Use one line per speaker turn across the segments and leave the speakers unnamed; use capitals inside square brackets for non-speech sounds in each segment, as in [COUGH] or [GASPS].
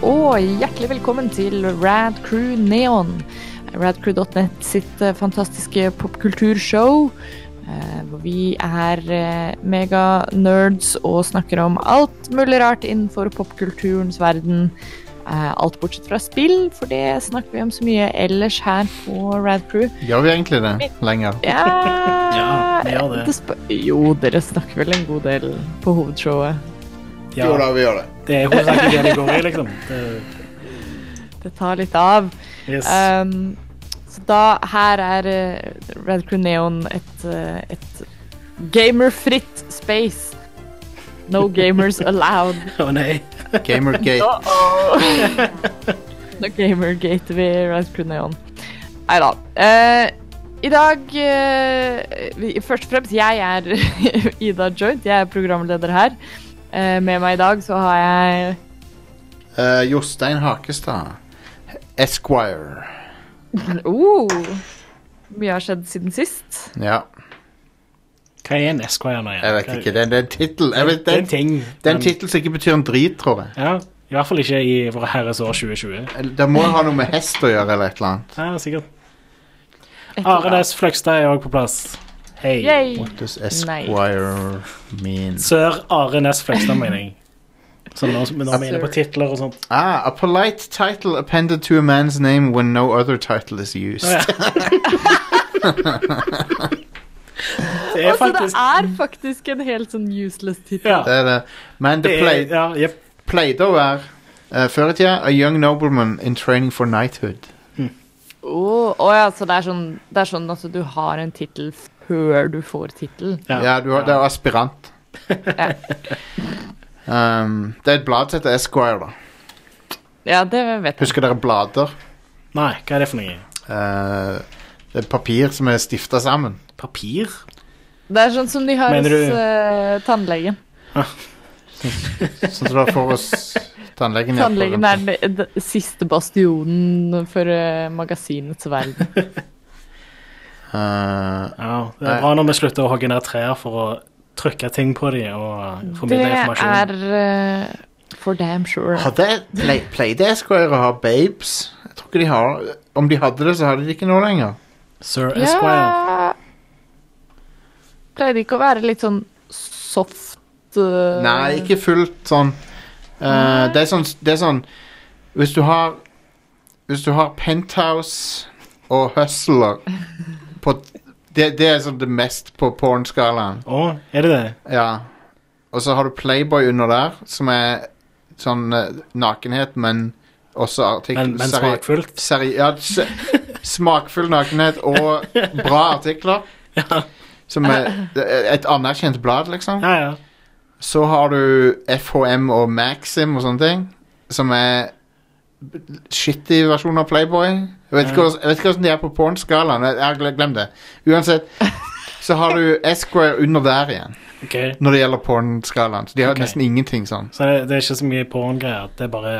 hjertelig velkommen til Rad Crew Neon. Radcrew.net sitt eh, fantastiske popkulturshow. eh, Hvor vi er eh, mega-nerds og snakker om alt mulig rart innenfor popkulturens verden. Eh, Alt bortsett fra spill, for det snakker vi om så mye ellers her på Radcrew.
Gjør vi egentlig det lenger?
Ja,
[LAUGHS] Ja, vi gjør det.
sp- jo, dere snakker vel en god del på hovedshowet.
Ja,
Jo da, vi gjør det.
det er hovedsakelig det det går i,
[LAUGHS]
liksom. Det,
Det tar litt av.
yes.
Um, så da her er uh, Red Crew Neon et, eh, et gamerfritt space. No gamers allowed.
Å nei.
[LAUGHS]
Gamergate.
No gamer gate ved Red Crew Neon. Nei da. Eh, I dag eh, vi- Først og fremst, jeg er [LAUGHS] Ida Joint. Jeg er programleder her. Eh, med meg i dag så har jeg
Eh, Jostein Hakestad. Esquire.
Oh, mye har skjedd siden sist.
Ja,
Hva er en Esquire nå igjen?
jeg vet
Hva-
ikke. Det, det er en tittel. Jeg vet,
Det er en
det,
ting.
det er en
men-
tittel som ikke betyr en drit, tror jeg.
Ja, I hvert fall ikke i Våre Herres år 2020.
Eller, Det må jo ha noe med hest å gjøre, eller et eller annet.
Ja, sikkert.
Et eller
Are
annet.
Næss Fløgstad er òg på plass. Hei.
Yay.
What does Esquire mean?
Sør Are Næss Fløgstad, mener jeg. Så nå, men nå mener jeg på titler og
[LAUGHS]
sånt.
Ah, a polite title appended to a man's name when no other title is used.
Å, ja. Det er
Altså,
faktisk
det er faktisk en helt sånn useless tittel.
Ja.
Det er det. Men det
Det er,
plei-
ja, jep.
pleide å være eh, før i tida A young nobleman in training for knighthood.
Å å ja, så det er, sånn, det er sånn at du har en tittel før du får tittel.
Ja, du, har- det er aspirant. um, det er et blad som heter Esquire, da.
Ja, det vet jeg.
Husker dere blader?
Nei, hva er det for noe?
Eh, det er papir som er stifta sammen.
Papir?
Det er sånn som de har
Mener
hos
du-
eh, tannlegen.
Sånn som du får hos tannlegen. i
Tannlegen er
Apple.
den den siste bastionen for eh, magasinets verden.
Eh,
Ja, det er bra når vi slutter å hogge ned trær for å trykke ting på dem og
Det
formidle informasjon.
er eh, for damn sure.
hadde plei- Pleide Esquire å ha babes? Jeg tror ikke de har Om de hadde det, så hadde de ikke noe lenger.
Sir Esquire.
Ja Pleier det ikke å være litt sånn soft eh,
Nei, ikke fullt sånn. Eh, det, er sånn det er sånn Hvis du har Hvis du har Penthouse og Hustler på det, det er sånn det mest på pornskalaen.
Å, er det det?
Ja. Og så har du Playboy under der, som er sånn eh, nakenhet, men også artikler
Men, men smakfullt?
Seri ja, s smakfull nakenhet og bra
[LAUGHS]
artikler. Som er et anerkjent blad, liksom.
Ja, ja.
Så har du FHM og Maxim og sånne ting, som er shitty versjon av Playboy. Jeg vet ikke,
Ja.
hvordan- jeg vet ikke hvordan de er på pornskalaen. Jeg- jeg gle- Glem det.
[LAUGHS]
Uansett, så har du Esquire under der igjen,
Ok.
når det gjelder pornskalaen. Så de har
Ok.
nesten ingenting sånn.
Så det, det er ikke så mye porngreier. Det er bare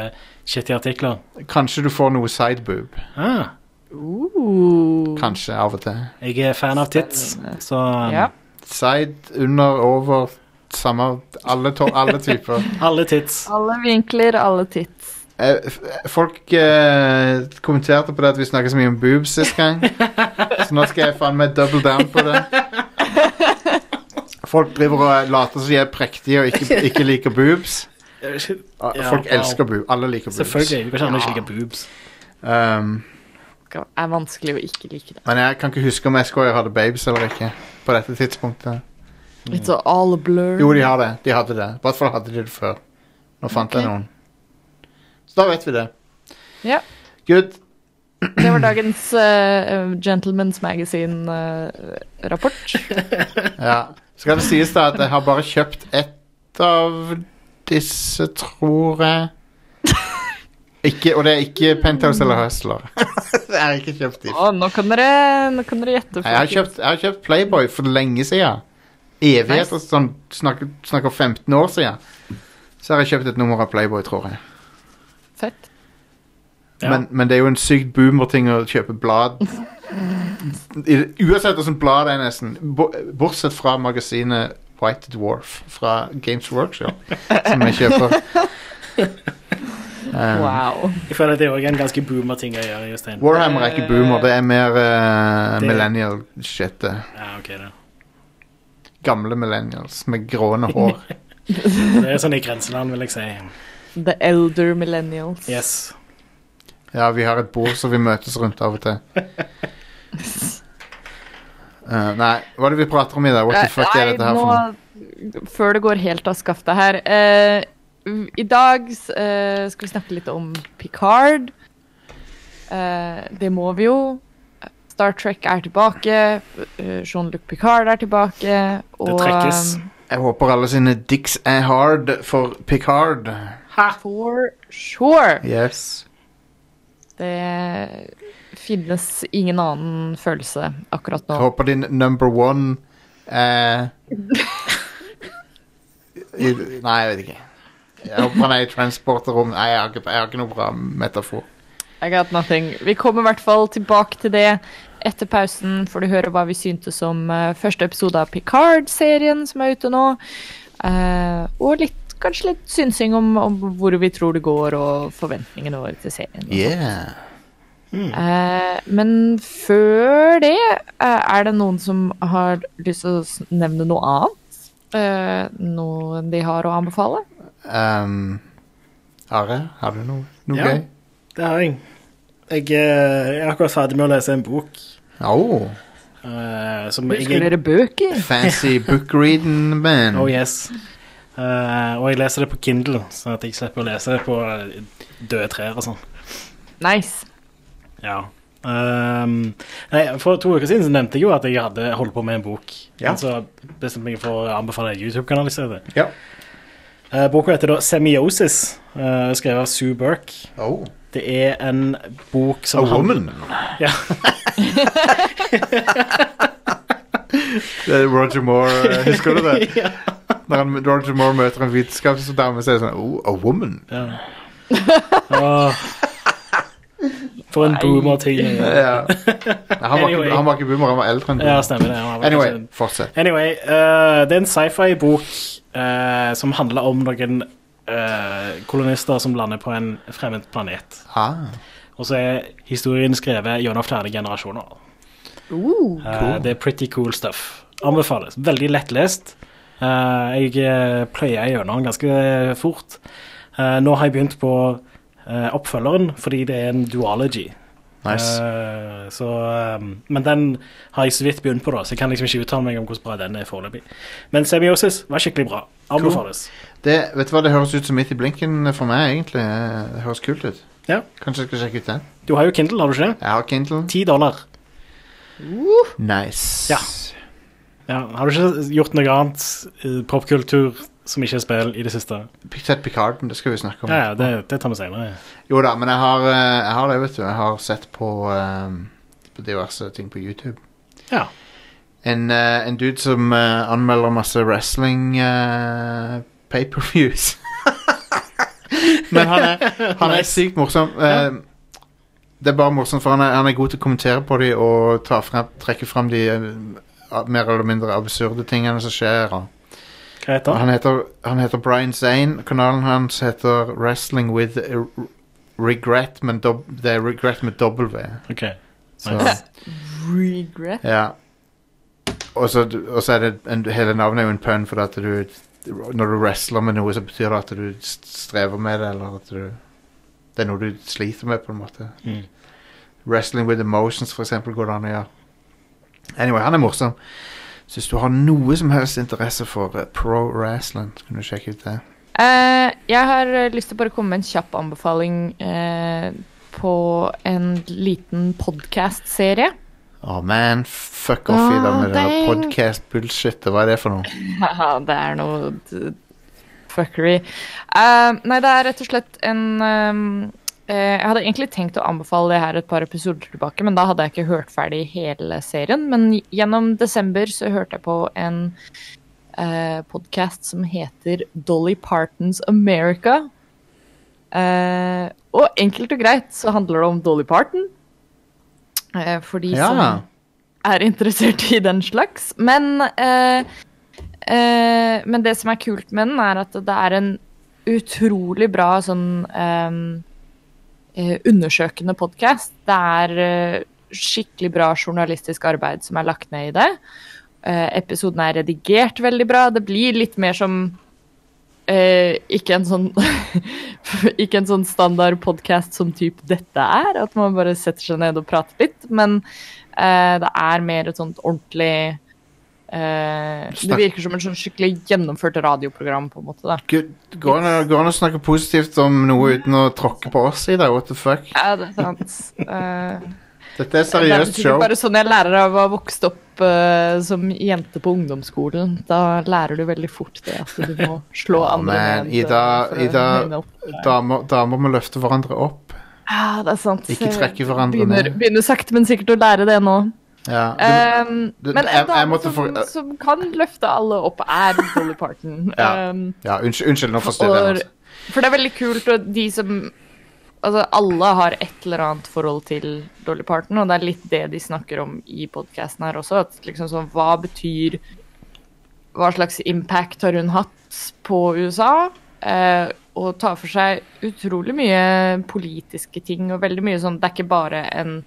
shitty artikler.
Kanskje du får noe sideboob.
Ah,
Uh.
Kanskje, av og til.
jeg er fan av tits, så um,
Ja.
Side, under, over, samme Alle, to alle typer.
alle tits.
Alle vinkler, alle tits.
Eh, f- Folk eh, kommenterte på det at vi snakket så mye om boobs sist gang. Så nå skal jeg faen meg double down på det. Folk driver og later som de er prektige og ikke, ikke liker boobs. Ah,
Ja,
Folk
wow.
elsker boobs. Alle liker boobs.
Selvfølgelig. Du kan ikke
Ja.
ikke like boobs.
Um,
Det er vanskelig å ikke like det.
men jeg kan ikke huske om SKJ hadde babes eller ikke på dette tidspunktet.
It's all a blur.
Mm. Jo, de har det. De hadde det. I hvert fall hadde de det før. Nå fant
Ok.
jeg noen. Så da vet vi det.
Ja.
Good.
Det var dagens eh, Gentleman's eh, Magazine-rapport.
Ja. Skal det sies da at jeg har bare kjøpt ett av disse, tror jeg. Ikke, og det er ikke Penthouse eller Hustler. [LAUGHS] jeg har ikke kjøpt de.
nå, kan dere- nå kan dere gjette.
Jeg har kjøpt, jeg har kjøpt Playboy for lenge siden. Evigheter, sånn, snakker, snakker 15 år siden. Så har jeg kjøpt et nummer av Playboy, tror jeg.
Fett.
Ja.
Men, men det er jo en sykt boomer-ting å kjøpe blad. I- Uansett hvordan blad det er, nesten. Bo- Bortsett fra magasinet White Dwarf fra Games Workshop, som jeg kjøper. Um,
Wow.
Jeg føler at det er også en ganske boomer ting å gjøre, Jostein.
Eh, Warhammer er ikke boomer, det er mer eh,
Det-
millennial shit. det.
Ja, ok, det.
Gamle millennials med gråne hår.
det er sånn i grenseland, vil jeg si.
The elder millennials.
Yes.
Ja, vi har et bord som vi møtes rundt av og til. Eh, nei, hva er det vi prater om i dag? What
Eh,
the fuck er dette her for noe?
Nå, før det går helt av skaftet her eh, I dag eh, skal vi snakke litt om Picard. Eh, det må vi jo. Star Trek er tilbake. eh, Jean-Luc Picard er tilbake. Og
trekkes.
eh,
Jeg håper alle sine dicks er hard for Picard.
for sure.
Yes.
Det finnes ingen annen følelse akkurat nå.
Jeg håper din number one [LAUGHS] er i, Nei, jeg vet ikke. Jeg håper han er i transporterrom. Nei, jeg har, ikke, jeg har ikke noe bra metafor.
I got nothing. Vi kommer i hvert fall tilbake til det etter pausen, får du høre hva vi syntes om eh, første episode av Picard-serien som er ute nå. Eh, og litt, kanskje litt synsing om, om hvor vi tror det går, og forventningene våre til serien. og
Yeah.
Eh, men før det, eh, er det noen som har lyst til å s- nevne noe annet? Eh, noe de har å anbefale?
Um, Are, har du noe, noe
Ja.
gøy?
Det har jeg. Jeg, eh, jeg er akkurat ferdig med å lese en bok.
Oh,
eh, som jeg,
Husker dere bøker?
fancy book reading, man.
Oh yes. Eh, og jeg leser det på Kindle, sånn at jeg slipper å lese det på eh, døde trær og sånn.
Nice.
Ja. Ehm, nei, for to uker siden så nevnte jeg jo at jeg hadde holdt på med en bok.
Ja.
Men så bestemte jeg meg for å anbefale en YouTube-kanal i stedet.
Ja.
Eh, boka heter da Semiosis, eh, skrevet av Sue Burke.
Oh,
Det er en bok som
a
handler-
woman.
Ja.
[LAUGHS] det er Roger Moore, eh, husker du
[LAUGHS]
det? Når han, Roger Moore møter en vitenskapsdame, så er det sånn Oh, a woman.
Ja. Åh. For en boomer-ting.
Ja. Nei, han, var
Anyway.
ikke, han var ikke boomer, han var eldre enn
Ja,
boomer.
stemmer det. Han var
Anyway,
kanskje-
fortsett.
Anyway, eh, det er en sci-fi-bok eh, som handler om noen eh, kolonister som lander på en fremmed planet.
Ah,
Og så er historien skrevet gjennom flere generasjoner.
Uh.
Eh,
Cool.
Det er pretty cool stuff. Anbefales. Veldig lettlest. Eh, jeg eh, pløyer gjennom den ganske fort. Eh, nå har jeg begynt på eh, oppfølgeren, fordi det er en duology.
nice.
Eh, så, um, men den har jeg så vidt begynt på, da, så jeg kan liksom ikke uttale meg om hvordan bra den er foreløpig. Men Semiosis var skikkelig bra. Anbefales.
Det, vet du hva, det høres ut som midt i blinken for meg, egentlig. Det høres kult ut.
Ja.
Kanskje jeg skal sjekke ut den.
Du har jo Kindle, har du ikke det?
Jeg har Kindle.
Ti dollar.
Nice.
Ja. Ja, har du ikke gjort noe annet eh, popkultur som ikke er spill i det siste?
Sett Picard, men det skal vi snakke om.
Ja, ja, det, det tar vi senere.
Jo da, men jeg har, eh, jeg har det, vet du. Jeg har sett på, eh, på diverse ting på YouTube.
Ja.
En, eh, en dude som eh, anmelder masse wrestling uh, pay-per-views. [LAUGHS] men han er, han er
Nice.
sykt morsom. Eh, Det er bare morsomt, for han er, han er god til å kommentere på de og ta frem, trekke frem de eh, mer eller mindre absurde tingene som skjer. Og.
Hva heter
Han
den?
heter, han heter Brian Zane. Kanalen hans heter Wrestling with eh, Regret, men dob det er Regret med W.
Ok.
Så,
Nice.
Regret.
ja. Og så og så er det en, hele navnet er jo en pun, for at du Når du wrestler med noe, så betyr det at du st- strever med det, eller at du Det er noe du sliter med, på en måte.
Mm.
Wrestling with emotions, for eksempel, går det an å gjøre. Anyway, han er morsom. Så hvis du har noe som helst interesse for eh, pro wrestling, så kan du sjekke ut det.
Eh, jeg har eh, lyst til å bare komme med en kjapp anbefaling eh, på en liten podcast-serie.
Å, man, fuck off i det
Åh,
med det
dang.
podcast-bullshitet. Hva er det for noe?
Haha, det er noe d- fuckery. Eh, nei, det er rett og slett en ehm, eh, Jeg hadde egentlig tenkt å anbefale det her et par episoder tilbake, men da hadde jeg ikke hørt ferdig hele serien. Men gjennom desember så hørte jeg på en uh, podkast som heter Dolly Partons America. Eh, og enkelt og greit så handler det om Dolly Parton. Eh, for de som
Ja.
er interessert i den slags. Men, eh, eh, men det som er kult med den, er at det er en utrolig bra sånn ehm, eh, undersøkende podkast. Det er eh, skikkelig bra journalistisk arbeid som er lagt ned i det. Eh, episoden er redigert veldig bra. Det blir litt mer som eh, ikke en sånn [LAUGHS] Ikke en sånn standard podkast som type dette er, at man bare setter seg ned og prater litt, men eh, det er mer et sånt ordentlig eh, Det
Snakk-
virker som et sånn skikkelig gjennomført radioprogram, på en måte. da.
Gud, Går an å- går an å snakke positivt om noe uten å tråkke på oss i det? What the fuck?
Ja, det er sant. Eh,
Dette er et
det er
seriøst
sikkert
show.
bare sånn jeg lærer av å ha vokst opp eh, som jente på ungdomsskolen. Da lærer du veldig fort det at du
[LAUGHS]
må slå andre
man,
ned, eh,
Ida-
for å
Ida-
høyne opp.
Damer, damer må løfte hverandre opp.
Ja, det er sant. Eh,
Ikke trekke hverandre
begynner,
ned.
Begynner sakte, men sikkert å lære det nå.
Ja, du,
Ehm,
du-
men
jeg-
en
jeg
dame som,
måtte for-
som kan løfte alle opp, er Dolly Parton.
Ja.
Ehm,
ja unnskyld, unnskyld, nå forstyrrer jeg.
og,
Altså.
for det er veldig kult, og de som Altså, alle har et eller annet forhold til Dolly Parton, og det er litt det de snakker om i podkasten her også. At liksom sånn, hva betyr Hva slags impact har hun hatt på USA? Eh, og tar for seg utrolig mye politiske ting og veldig mye sånn Det er ikke bare en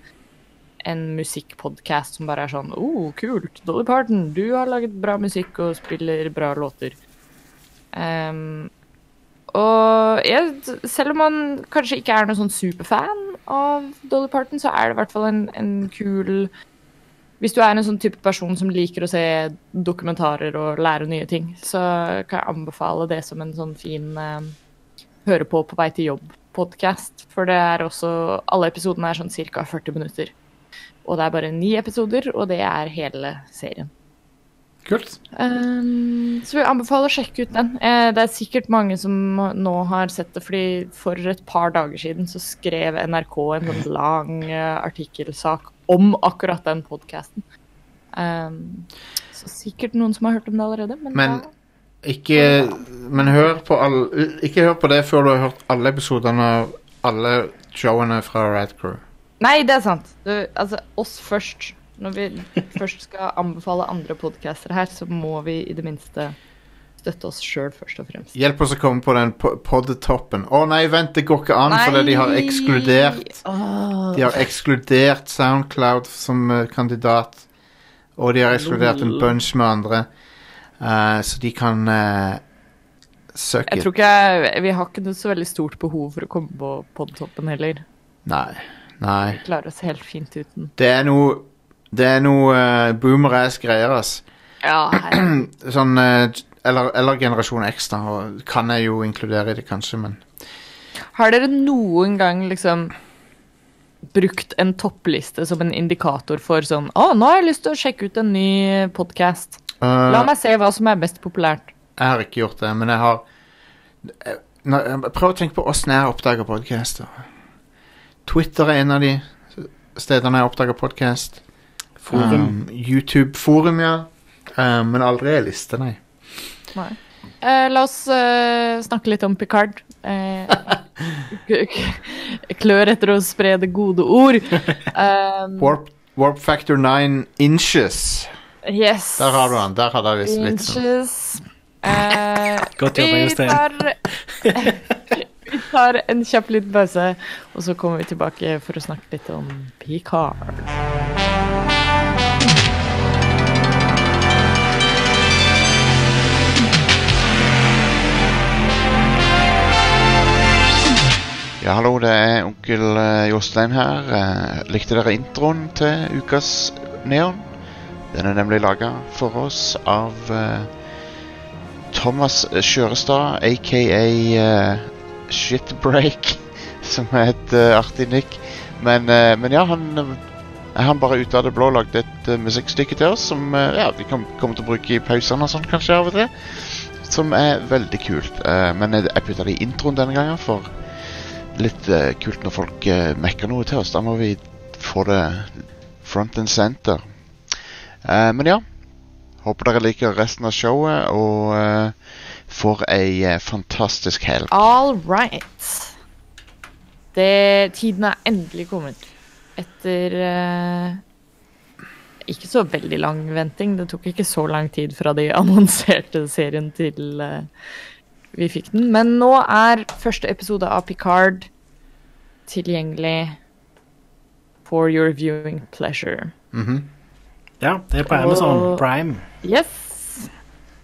en musikkpodkast som bare er sånn oh, kult, Dolly Parton, du har laget bra musikk og spiller bra låter. Ehm, og jeg, selv om man kanskje ikke er noen sånn superfan av Dolly Parton, så er det i hvert fall en, en kul Hvis du er en sånn type person som liker å se dokumentarer og lære nye ting, så kan jeg anbefale det som en sånn fin eh, høre på på vei til jobb-podkast. For det er også Alle episodene er sånn ca. 40 minutter. Og det er bare ni episoder, og det er hele serien.
Kult.
Ehm, så vi anbefaler å sjekke ut den. Eh, det er sikkert mange som nå har sett det, fordi for et par dager siden så skrev NRK en sånn lang eh, artikkelsak om akkurat den podkasten. så sikkert noen som har hørt om det allerede, men,
Men-
ja.
Ikke, men hør på all, ikke hør på det før du har hørt alle episodene av alle showene fra Rad Crew.
Nei, det er sant. Du, altså, oss først. Når vi først skal anbefale andre podcaster her, så må vi i det minste støtte oss sjøl først og fremst.
Hjelp oss å komme på den po- podtoppen. Å nei, vent, det går ikke an, fordi de har ekskludert
Åh.
De har ekskludert Soundcloud som eh, kandidat, og de har ekskludert en
Lol.
bunch med andre, Eh, så de kan uh, søke
Jeg tror ikke jeg, Vi har ikke noe så veldig stort behov for å komme på podtoppen heller.
Nei. Nei.
Klarer oss helt fint uten.
Det er noe Det er noe eh, boomer-ass greier, ass.
Ja, herregud.
Sånn eh, eller, eller Generasjon X, da. Og kan jeg jo inkludere i det, kanskje, men
Har dere noen gang liksom brukt en toppliste som en indikator for sånn Å, nå har jeg lyst til å sjekke ut en ny podkast.
Eh,
La meg se hva som er mest populært.
Jeg har ikke gjort det, men jeg har Eh, nå- jeg Prøv å tenke på åssen jeg oppdager podcaster. Twitter er en av de stedene jeg oppdager podkast.
Forum.
Um, YouTube-forum, ja. Eh, men aldri ei liste, nei.
Eh, la oss eh, snakke litt om Picard. Eh, k- k- klør etter å spre det gode ord. Um,
Warp, Warp Factor 9 Inches.
yes.
Der har du den. Der hadde jeg visst litt. sånn.
Inches. Eh,
Godt jobba,
vi
Jostein.
tar- vi tar [LAUGHS] en kjapp liten pause, og så kommer vi tilbake for å snakke litt om Picard.
Ja, hallo, det er onkel eh, Jostein her. Eh, Likte dere introen til ukas Neon? Den er nemlig laga for oss av eh, Thomas Skjørestad, aka eh, Shitbreak, [LAUGHS] som er et eh, artig nikk. Men, eh, men ja, han, eh, han bare ut av det blå lagde et eh, musikkstykke til oss som eh, ja, vi kom- kommer til å bruke i pausene og sånn kanskje av og til. Som er veldig kult. Eh, men jeg jeg putta det i introen denne gangen, for litt eh, kult når folk eh, mekker noe til oss. Da må vi få det front and center. Eh, men ja. Håper dere liker resten av showet og eh, får ei eh, fantastisk helg.
All right. Det, tiden er endelig kommet. Etter eh, ikke så veldig lang [LAUGHS] venting. Det tok ikke så lang tid fra de annonserte serien til eh, vi fikk den. Men nå er første episode av Picard tilgjengelig for your viewing pleasure.
Mhm.
Ja, det er på Amazon
Og-
Prime.
Yes!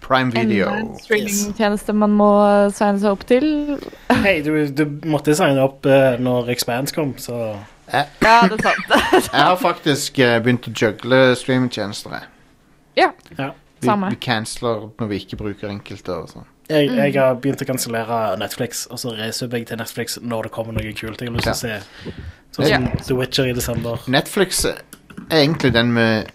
Prime video.
Enda en streamingtjeneste man må signe seg opp til.
Hei, du, du måtte signe opp eh, når Expanse kom, så
Ja, det er sant. [LAUGHS]
Jeg har faktisk eh, begynt å jugle streamingtjenester. jeg.
Ja,
Ja.
Vi,
Samme.
vi canceler når vi ikke bruker enkelte. og sånn.
jeg, jeg
Mm.
har begynt å kansellere Netflix, og så resubber jeg til Netflix når det kommer noe kult. Jeg har lyst til å se sånn som The Witcher i desember.
Netflix er egentlig den med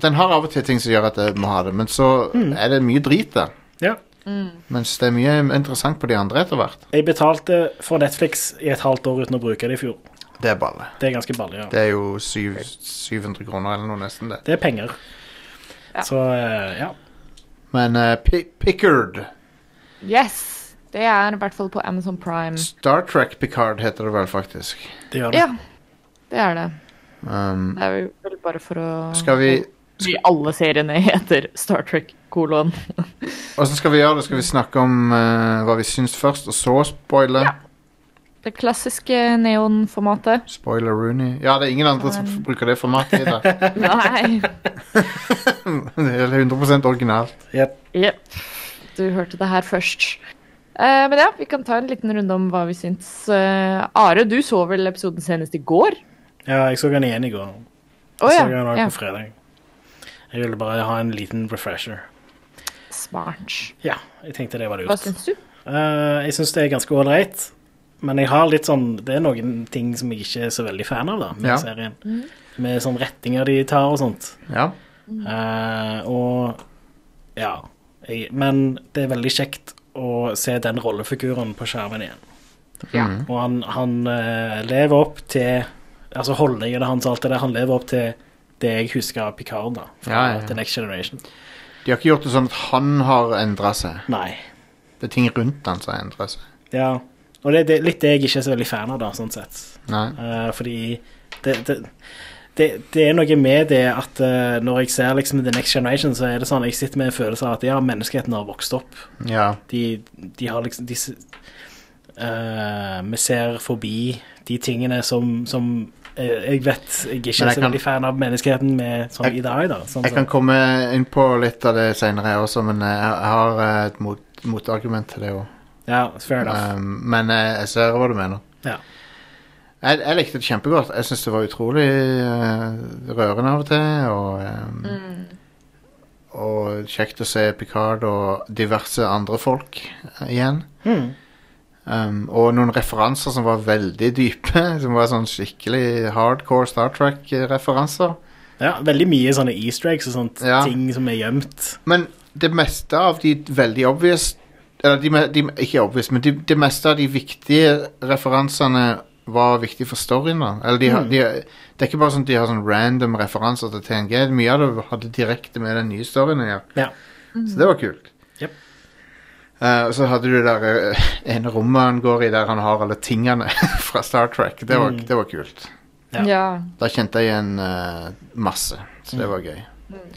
Den har av og til ting som gjør at jeg må ha det, men så er det mye drit der.
Ja.
Mens det er mye interessant på de andre etter hvert.
Jeg betalte for Netflix i et halvt år uten å bruke det i fjor.
Det er balle.
Det er ganske ballig, ja.
Det er jo syv, 700 kroner eller noe, nesten det.
Det er penger.
Ja.
Så eh, ja.
Men eh, Pi Pickard
yes! Det er i hvert fall på Amazon Prime.
Star Trek Picard heter det vel faktisk.
Det gjør det.
Ja, det er det.
Um,
Det er jo vel bare for å
skal vi
Fordi alle seriene heter Star Trek kolon.
Åssen skal vi gjøre det? Skal vi snakke om eh, hva vi syns først, og så spoile?
Det klassiske
[LAUGHS]
neonformatet.
Spoiler Rooney. Ja, det er ingen andre som
Sånn.
bruker det
[LAUGHS]
formatet i dag.
Nei.
det er 100 originalt.
Jep.
Jepp. Du hørte det her først. Eh, men ja, vi kan ta en liten runde om hva vi syns. Eh, Are, du så vel episoden senest i går?
ja, jeg så den igjen i går.
Å
jeg
ja.
så den også
ja.
på fredag. Jeg ville bare ha en liten refresher.
Smart.
Ja, jeg tenkte det var
Hva
lurt.
syns du?
Eh, jeg syns det er ganske ålreit, men jeg har litt sånn Det er noen ting som jeg ikke er så veldig fan av, da, med
Ja.
serien. Med sånn retninger de tar og sånt.
Ja.
Eh, og ja. Jeg, men det er veldig kjekt å se den rollefiguren på skjermen igjen.
Ja.
Mhm.
Og han, han eh, lever opp til Altså holdningene hans og alt det der. Han lever opp til det jeg husker av Picard, da. Fra
Ja, ja, ja.
The Next Generation.
De har ikke gjort det sånn at han har endra seg.
Nei.
Det er ting rundt han som har endra seg.
Ja. Og det er det- litt det jeg ikke er så veldig fan av, da, sånn sett.
Nei.
Eh, fordi det, det, det, det er noe med det at eh, når jeg ser liksom The Next Generation, så er det sånn jeg sitter med en følelse av at ja, menneskeheten har vokst opp.
Ja.
De, de har liksom de, s- eh, Vi ser forbi de tingene som, som eh, jeg vet jeg
Men
ikke er
jeg
så
kan-
veldig fan av menneskeheten med sånn
Jeg-
i dag, da. Sånn,
Jeg kan
som-
komme inn på litt av det seinere også, men eh, jeg har eh, et mot motargument til det òg.
ja, fair enough.
men eh, jeg ser hva du mener.
Ja.
Jeg, jeg likte det kjempegodt. Jeg syns det var utrolig eh, rørende av og til. Og, eh,
Mm.
og kjekt å se Picard og diverse andre folk eh, igjen.
Hmm.
Um, og noen referanser som var veldig dype. [LAUGHS] Som var sånn skikkelig hardcore Star Trek-referanser.
ja, veldig mye sånne easter eggs og sånt.
Ja.
Ting som er gjemt.
Men det meste av de veldig obvious Eller de, me- de, ikke obvious, men de, det meste av de viktige referansene var viktig for storyen. da Eller de, har-
Mm.
de, Det er ikke bare sånn at de har sånn random referanser til TNG. Mye av det hadde direkte med den nye storyen å gjøre.
Ja.
Så det var kult.
Jep.
Eh, og så hadde du det der uh, ene rommet han går i der han har alle tingene [LAUGHS] fra Star Trek. Det var,
Mm.
det var kult.
Ja.
Ja.
Da kjente jeg igjen eh, masse, så det var gøy.
Mm.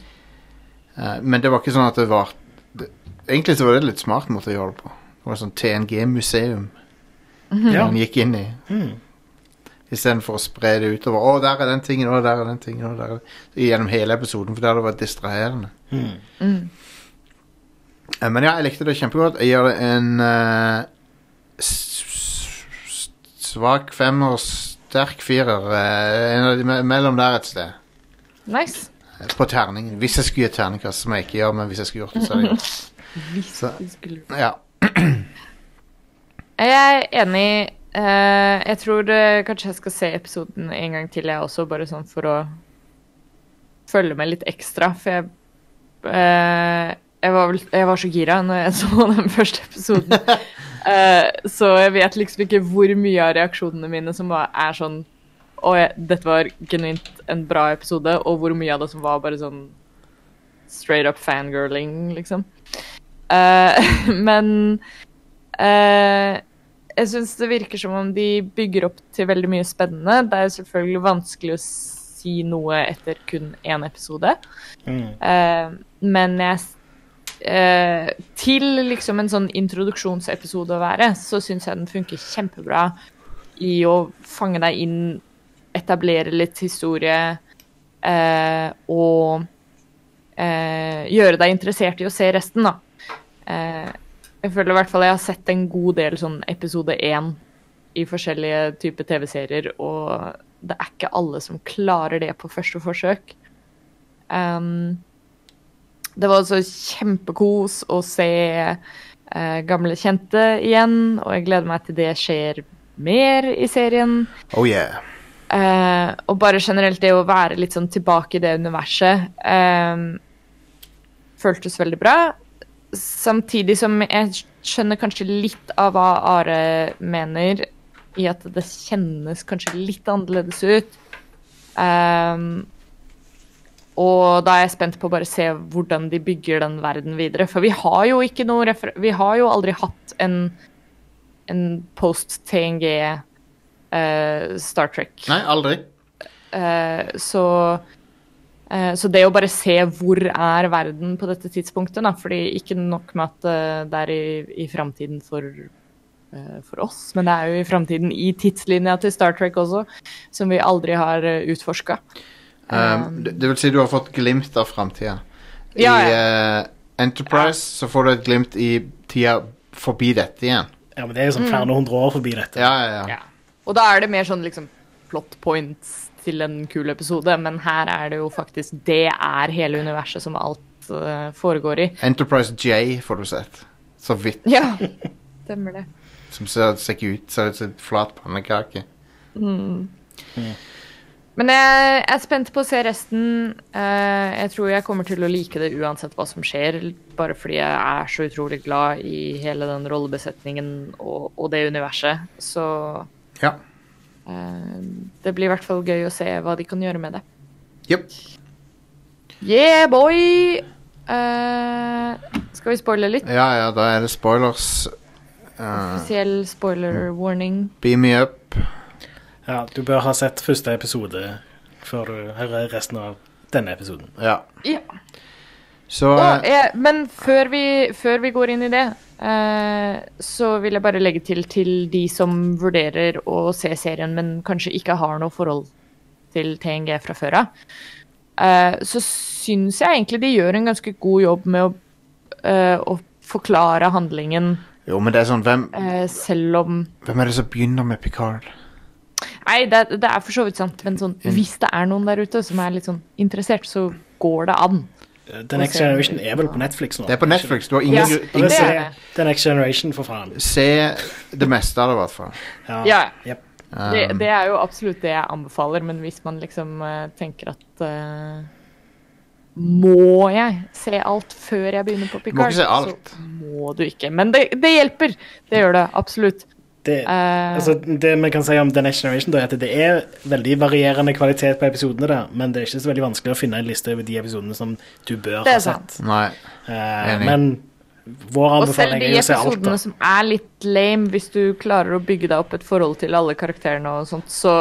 Eh, men det var ikke sånn at det var det, Egentlig så var det litt smart måte å gjøre det på. Det var et sånt TNG-museum
Ja.
han gikk inn i.
Hmm.
Istedenfor å spre det utover. Å, der er den tingen, å, der er den tingen, å, der er den Gjennom hele episoden, for det hadde vært distraherende.
Hmm.
Mm.
Eh, men ja, jeg likte det kjempegodt. Jeg gir det en eh, s- s- svak femmer, sterk firer. eh, en av de me mellom der et sted.
Nice.
På terningen. Hvis jeg skulle gi et terningkast, som jeg ikke gjør, men hvis jeg skulle gjort det, så hadde jeg gjort
Hvis
Så-
du skulle
det. Ja.
Jeg er enig. Eh, jeg tror eh, kanskje jeg skal se episoden en gang til, jeg også, bare sånn for å følge med litt ekstra. For jeg eh, jeg, var vel, jeg var så gira når jeg [LAUGHS] så den første episoden. Eh, så jeg vet liksom ikke hvor mye av reaksjonene mine som var, er sånn Og jeg, dette var genuint en bra episode, og hvor mye av det som var bare sånn straight up fangirling, liksom. Eh, [LAUGHS] men Eh, jeg syns det virker som om de bygger opp til veldig mye spennende. Det er jo selvfølgelig vanskelig å si noe etter kun én episode.
Hmm.
Eh, men jeg s- eh, til liksom en sånn introduksjonsepisode å være, så syns jeg den funker kjempebra i å fange deg inn, etablere litt historie eh, og eh, gjøre deg interessert i å se resten, da. Eh, jeg føler i hvert fall jeg har sett en god del sånn episode én i forskjellige typer TV-serier, og det er ikke alle som klarer det på første forsøk. Um, det var også kjempekos å se eh, gamle kjente igjen, og jeg gleder meg til det skjer mer i serien.
Oh yeah.
Eh, og bare generelt det å være litt sånn tilbake i det universet eh, føltes veldig bra. Samtidig som jeg skjønner kanskje litt av hva Are mener, i at det kjennes kanskje litt annerledes ut. Eh, og da er jeg spent på å bare se hvordan de bygger den verden videre. For vi har jo ikke noe refer Vi har jo aldri hatt en, en post-TNG eh, Star Trek.
Nei, aldri.
Eh, så, eh, så det å bare se hvor er verden på dette tidspunktet, da, fordi ikke nok med at eh, det er i, i framtiden for, eh, for oss, men det er jo i framtiden i tidslinja til Star Trek også, som vi aldri har eh, utforska.
Um, det, det vil si du har fått glimt av framtida.
Ja,
I eh, Enterprise så får du et glimt i tida forbi dette igjen.
Ja, men det er jo sånn flere hundre år forbi dette.
Ja, ja, ja.
Ja. Og da er det mer sånn liksom plot points til en kul episode, men her er det jo faktisk Det er hele universet som alt eh, foregår i.
Enterprise J får du sett. Så vidt.
Ja, stemmer det.
Som ser, ser ikke ut ser ut som en flat pannekake.
Men jeg er spent på å se resten. Eh, jeg tror jeg kommer til å like det uansett hva som skjer, bare fordi jeg er så utrolig glad i hele den rollebesetningen og, og det universet. Så
Ja.
eh, det blir i hvert fall gøy å se hva de kan gjøre med det.
Jepp.
Yeah, boy! Eh, skal vi spoile litt?
Ja, ja, da er det spoilers. Uh,
Offisiell spoiler warning.
beam me up.
Ja, du bør ha sett første episode før du hører resten av denne episoden.
Ja.
Ja.
Så
Og,
eh,
eh, men før vi, før vi går inn i det, eh, så vil jeg bare legge til til de som vurderer å se serien, men kanskje ikke har noe forhold til TNG fra før av. Eh, så syns jeg egentlig de gjør en ganske god jobb med å, eh, å forklare handlingen,
Jo, men det er sånn hvem,
eh, selv om
hvem er det som begynner med Picard?
Nei, det, det er for så vidt sant, men sånn, hvis det er noen der ute som er litt sånn interessert, så går det an.
The Next Generation er vel på Netflix nå?
Det er på Netflix. Du har ingen,
Ja.
gru-
Og det
ingen
Det
ser
er
jeg. The Next Generation, for faen.
Se det meste av det, i hvert fall. Um,
Ja.
jep.
Det,
Um,
det er jo absolutt det jeg anbefaler, men hvis man liksom eh, tenker at eh, Må jeg se alt før jeg begynner på
Du må
Picard?
ikke se alt.
Så må du ikke. Men det, det hjelper. Det gjør det absolutt.
Det,
Eh.
altså, det vi kan si om The Next Generation, da, er at det er veldig varierende kvalitet på episodene, der, men det er ikke så veldig vanskelig å finne en liste over de episodene som du bør
Det
ha
er
sett.
sant.
Nei.
Eh,
Enig.
men vår
Og selv
anbefaling
de
er jo å se alt, da.
episodene som er litt lame, hvis du klarer å bygge deg opp et forhold til alle karakterene og sånt, så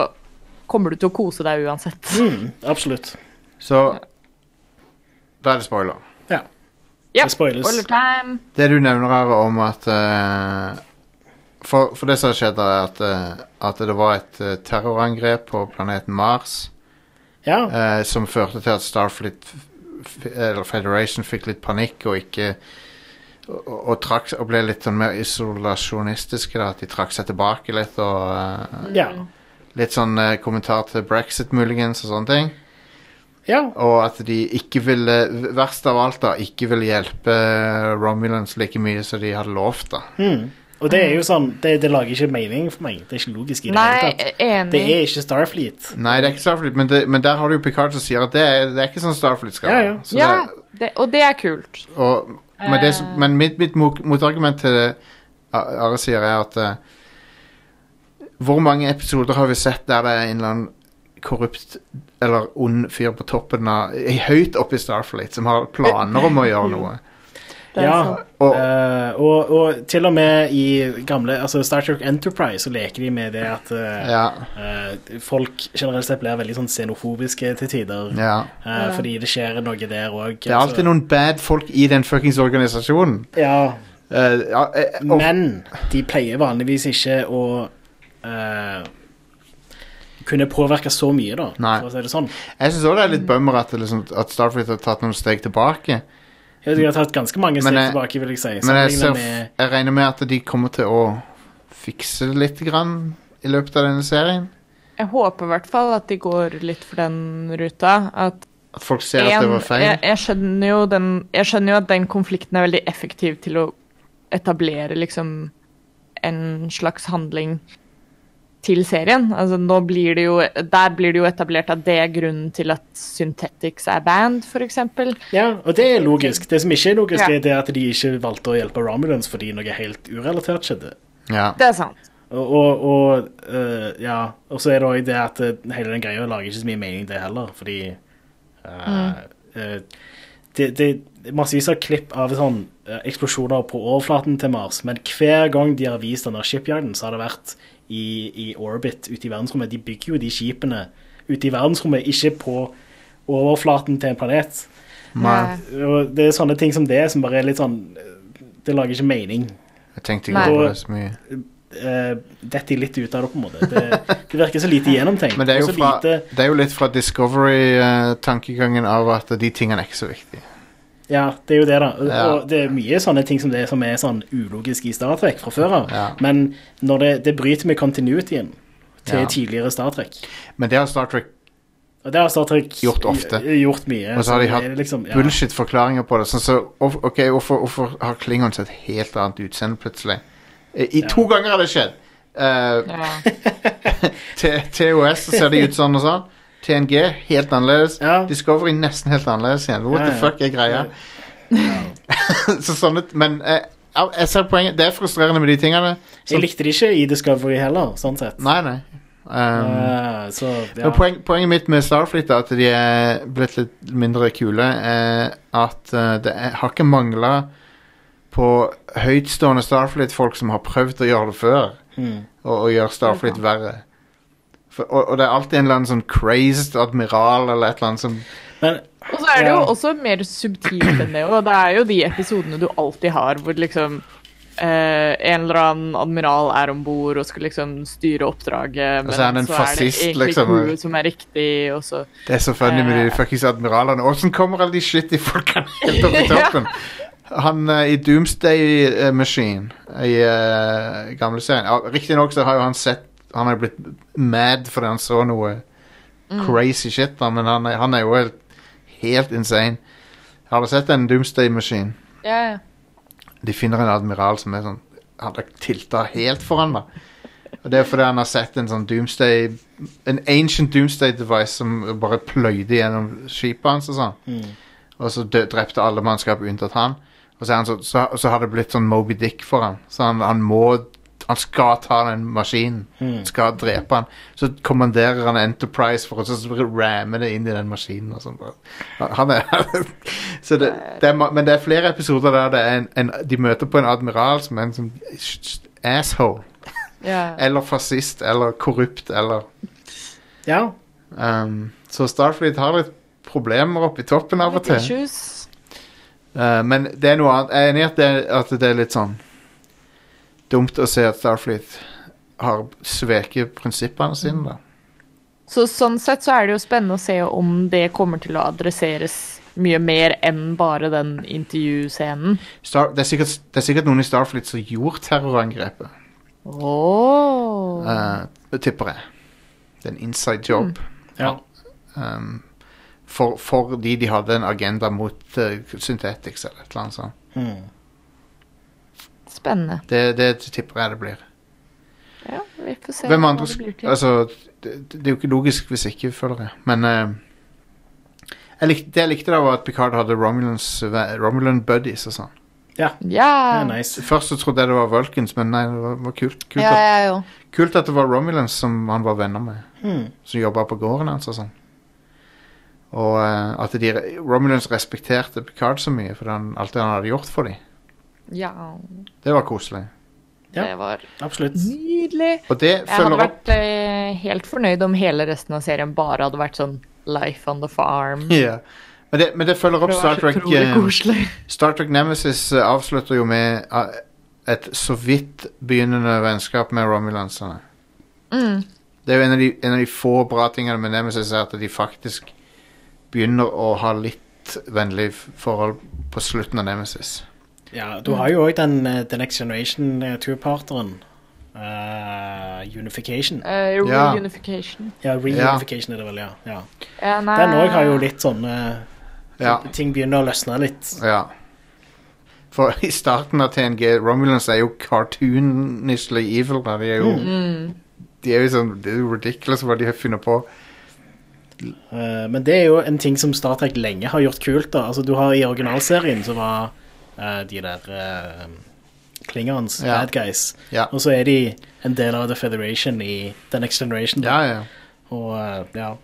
kommer du til å kose deg uansett.
Mm, absolutt.
Så Da er det spoiler.
Ja.
Ja.
Det spoiles.
Spoiler time.
Det du nevner her om at eh, for, for det som skjedde, er at, eh, at det var et eh, terrorangrep på planeten Mars
Ja,
eh, som førte til at Starfleet f- eller Federation fikk litt panikk og ikke og, og, og trakk, og ble litt sånn mer isolasjonistiske. Da, at de trakk seg tilbake litt. og eh,
ja.
Litt sånn eh, kommentar til brexit, muligens, og sånne ting.
ja.
Og at de ikke ville Verst av alt, da. Ikke ville hjelpe eh, Romulans like mye som de hadde lovt, da.
Mm. Og det er jo sånn, det, det lager ikke mening for meg. Det er ikke logisk i det
Nei,
hele tatt. Det
enig.
er ikke Starfleet.
Nei, det er ikke Starfleet, men, det, men der har du jo Picard som sier at det er, det er ikke sånn Starfleet skal
Ja, ja.
være. Så
Ja,
det-
det, og det er kult.
og, men det, som- men mitt, mitt mot- motargument til det A- Are sier, er at eh, Hvor mange episoder har vi sett der det er en eller annen korrupt eller
[LAUGHS]
ond fyr på toppen av Høyt oppe i Starfleet som har planer om å gjøre noe?
Det er
Ja.
sånn.
Og,
Eh, og, og til og med i gamle altså Star Trek Enterprise så leker de med det at eh,
ja,
eh, folk generelt sett blir veldig sånn xenofobiske til tider.
ja.
eh, fordi det skjer noe der òg.
Det er
altså-
alltid noen bad folk i den fuckings organisasjonen.
Ja,
Eh, ja, eh, og,
men de pleier vanligvis ikke å eh, kunne påvirke så mye, da,
Nei.
for å si det sånn.
jeg syns òg det er litt bummer at, det liksom, at Starfleet har tatt noen steg tilbake.
Jeg vet ikke, jeg har tatt ganske mange
Men
steg
jeg-
tilbake, vil jeg si.
Men jeg,
sammenlignet
ser,
med-
jeg regner med at de kommer til å fikse det litt grann i løpet av denne serien.
Jeg håper i hvert fall at de går litt for den ruta. At
At folk ser at det
en, eh,
var feil.
jeg, jeg, skjønner jo den, jeg skjønner jo at den konflikten er veldig effektiv til å etablere liksom en slags handling til serien. Altså, nå blir det jo, der blir det jo etablert at det er grunnen til at Synthetics er band, f.eks.
Ja, og det er logisk. Det som ikke er logisk,
Ja.
er det at de ikke valgte å hjelpe Romulans fordi noe helt urelatert skjedde.
Ja.
Det er sant.
Og, og, og eh, ja, og så er det òg det at eh, hele den greia lager ikke så mye mening, det heller, fordi eh, eh, det, det er massevis av klipp av sånn eh, eksplosjoner på overflaten til Mars, men hver gang de har vist denne shipyarden, så har det vært i, i orbit ute i verdensrommet. De bygger jo de skipene ute i verdensrommet, ikke på overflaten til en planet.
Nei.
Eh,
Og det er sånne ting som det som bare er litt sånn eh, Det lager ikke mening.
Jeg tenkte ikke
Nei.
over det så mye.
Eh, Detter litt ut av det, på en måte. Det, det virker så lite gjennomtenkt.
Men det er
og
jo,
så
fra,
lite,
det er jo litt fra Discovery-tankegangen av at de tingene er ikke så viktige.
Ja, det er jo det, da. Og-
Ja.
Og det er mye sånne ting som det som er sånn ulogisk i Star Trek fra før av.
Ja.
Men når det, det bryter med continuityen til
Ja.
tidligere Star Trek.
Men det har Star Trek
Og det har Star Trek
Gjort ofte.
gj- gjort mye.
Og så har de
det
hatt
er liksom, ja.
bullshit-forklaringer på det. Sånn så, of- ok, hvorfor, hvorfor har Klingons et helt annet utseende plutselig? I, i
Ja.
to ganger har det skjedd! Eh,
Ja.
T- TOS så ser de ut sånn og sånn. TNG helt annerledes.
Ja.
[LAUGHS] Discovery nesten helt annerledes igjen. What
Ja,
the
ja.
fuck er greia?
Ja.
[LAUGHS] så sånn ut, men eh, au, jeg ser poenget. Det er frustrerende med de tingene.
Jeg likte det ikke i Discovery heller, sånn sett.
Nei, nei. Um,
Eh, så, ja.
Men poeng, poenget mitt med Starfleet er at de er blitt litt mindre kule. Er at eh, det er, har ikke mangla på høytstående Starfleet-folk som har prøvd å gjøre det før,
Mm.
og, og gjøre Starfleet verre. For, og, og det er alltid en eller annen sånn crazed admiral eller et eller annet som
Men
Og så er det jo
Ja.
også mer subtilt enn det. Og det er jo de episodene du alltid har hvor liksom eh, en eller annen admiral er om bord og skal liksom styre oppdraget, men
Og så er han en fascist, liksom.
crewet som er riktig, og så
Det er så funny med de
Eh.
fuckings admiralene. Åssen kommer alle de shitty folkene helt opp i toppen? Han eh, i Doomsday eh, Machine i eh, gamle serien uh, Riktignok så har jo han sett Han har jo blitt mad fordi han så noe crazy shit, da, men han er, han er jo helt, helt insane. Har du sett den Doomsday Machine?
Ja, ja.
De finner en admiral som er sånn Han er tilta helt foran da Og det er fordi han har sett en sånn doomsday En ancient doomsday device Som bare pløyde gjennom skipet hans Og sånn
mm.
Og så dø, drepte alle mannskap unntatt han Og så, er han så, så, så har det blitt sånn Moby Dick for han Så han, han må Han skal ta den maskinen
Mm.
Skal drepe han Så kommanderer han Enterprise for å så ramme det inn i den maskinen og sånn. Han er så det, det er, ma- Men det er flere episoder der det er en, en, de møter på en admiral som er en sånn asshole.
ja.
Eller fascist, eller korrupt, eller
ja.
um, Så Starfleet har litt problemer oppe i toppen av og
Litt
til.
issues.
Eh, men det er noe annet. Jeg er enig i at det, at det er litt sånn dumt å se at Starfleet har sveket prinsippene sine, da.
Så sånn sett så er det jo spennende å se om det kommer til å adresseres mye mer enn bare den intervjuscenen.
Star, det, er sikkert, det er sikkert noen i Starfleet som gjorde terrorangrepet,
Oh.
eh, tipper jeg. Det er en inside job.
ja.
Mm.
um, for, fordi de hadde en agenda mot eh, Synthetics eller et eller annet sånt.
Mm.
Spennende.
Det, det tipper jeg det blir.
Ja, vi får se
Hvem
hva
andre
det
sk-
blir til.
Altså, det, det er jo ikke logisk hvis ikke, føler jeg. Men eh, jeg likte, det jeg likte da, var at Picard hadde Romulans, ve- Romulan buddies og sånn.
Det
Ja.
er nice.
Først så trodde jeg det var Vulcans, men nei, det var, var kult. Kult,
Ja, jeg òg.
At, kult at det var Romulans som han var venner med.
Mm.
som jobba på gården hans og sånn. Og eh, at de, Romulans respekterte Picard så mye for han, alt det han hadde gjort for dem.
Ja,
Det var koselig.
Ja.
det var
Absolutt.
nydelig.
Og det
Jeg hadde
følger opp [LAUGHS]
vært eh, helt fornøyd om hele resten av serien bare hadde vært sånn Life on the farm.
Ja. Men, det, men det følger opp
Det
Star
var så
Trek.
utrolig
eh,
koselig. [LAUGHS]
Star Trek Nemesis eh, avslutter jo med eh, et så vidt begynnende vennskap med Romulansene.
Mm.
Det er jo en av, de, en av de få bra tingene med Nemesis, er at de faktisk begynner å ha litt vennlig forhold på slutten av Nemesis.
Ja, du har jo òg den eh, The Next Generation eh, two-parteren. Eh, unification.
Eh,
Ja.
reunification.
Ja, reunification er det vel, ja. ja.
Ja, nei.
Den òg har jo litt sånne
Ja.
Ting begynner å løsne litt.
ja. For i starten av TNG, Romulans er jo cartoonishly evil. Da. De er jo,
Mm.
de er jo sånn, det er jo ridiculous hva de har funnet på.
Eh, men det er jo en ting som Star Trek lenge har gjort kult. da. Altså, du har I originalserien så var eh, de der uh, Klingerens
Ja.
bad guys.
Ja.
Og så er de en del av The Federation i The Next Generation. da.
Ja, ja.
Og eh, ja.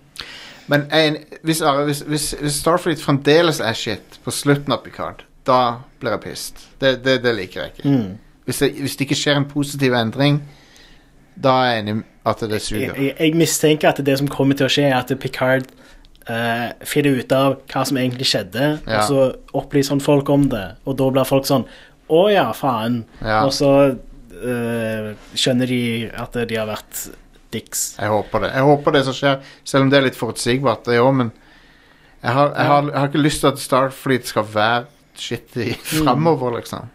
Men en, hvis, Are, hvis, hvis, hvis Starfleet fremdeles er shit på slutten av Picard, da blir jeg pissed. Det, det, det liker jeg ikke.
Mm.
Hvis, det, hvis det ikke skjer en positiv endring, da er jeg enig at det
Jeg,
suger.
jeg, jeg mistenker at det som kommer til å skje, er at Picard eh, finner ut av hva som egentlig skjedde,
Ja.
og så opplyser han folk om det, og da blir folk sånn Å ja, faen.
Ja,
Og så eh, skjønner de at de har vært dicks.
jeg håper det. Jeg håper det som skjer, selv om det er litt forutsigbart, det òg, men jeg har, jeg, har, jeg har ikke lyst til at Starfleet skal være shitty framover, liksom.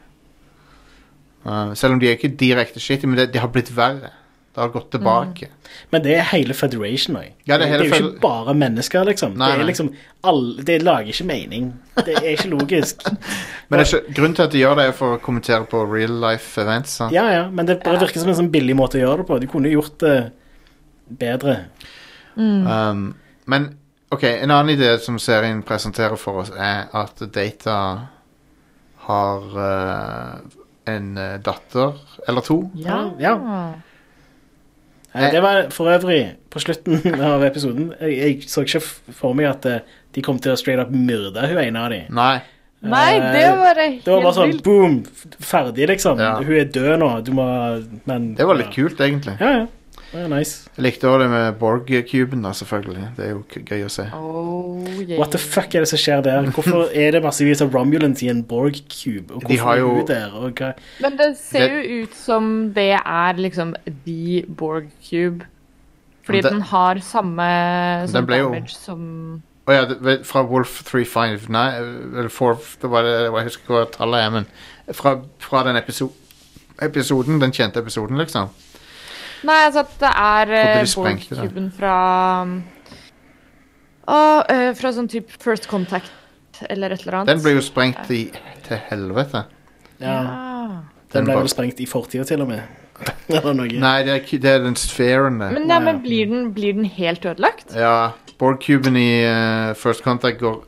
Uh, selv om de er ikke direkte shitty, men det, de har blitt verre. Det har gått tilbake.
Men det er hele Federation òg.
Ja, det er hele
jo
Fed-
ikke bare mennesker, liksom.
Nei,
det
nei.
er liksom alle, Det lager ikke mening. Det er ikke logisk.
[LAUGHS] Men det er ikke, grunnen til at de gjør det, er for å kommentere på real life events. Sant?
ja, ja, men det bare virker som en sånn billig måte å gjøre det på. De kunne gjort det bedre.
Um, men ok, en annen idé som serien presenterer for oss, er at Data har eh, en eh, datter eller to.
Ja.
Eh, Det var for øvrig, på slutten [LAUGHS] av episoden Jeg, jeg så ikke f- for meg at eh, de kom til å straight up myrde hun ene av dem.
Nei.
Nei, det var helt
Eh, Det var bare sånn
vilt.
boom, f- ferdig, liksom.
Ja.
Hun er død nå, du må Men
Det var litt
ja.
kult, egentlig.
Ja, ja. Det var nice.
Jeg likte også det med Borg-kuben, da, selvfølgelig. Det er jo k- gøy å se.
Oh, yeah.
What the fuck er det som skjer der? Hvorfor er det massevis av Romulans i en Borg-cube? Og
De
hvorfor
har
er
jo-
hun der? Og hva?
Men det ser jo ut som det er liksom The Borg Cube. Fordi
Men det-
den har samme
Den
sånn
ble jo-
damage som
Å ja, det, vel, fra Wolf 359 Nei, eller 4 det var det, Jeg husker ikke hva tallet er, men fra, fra den episo episoden, den kjente episoden, liksom.
Nei, altså at det er eh,
Trodde de
Borg
sprengte det.
Cuben fra um, Å, eh, Fra sånn type First Contact eller et eller annet.
Den ble jo sprengt i, til helvete.
Ja,
Ja.
den
den ble
bare-
vel sprengt i fortida, til og med. [LAUGHS] Eller noe.
Nei, det er, ku- det er den sfæren der.
Men, nei,
Nei.
men blir, den, blir den helt ødelagt?
Ja, Borg-kuben i eh, First Contact går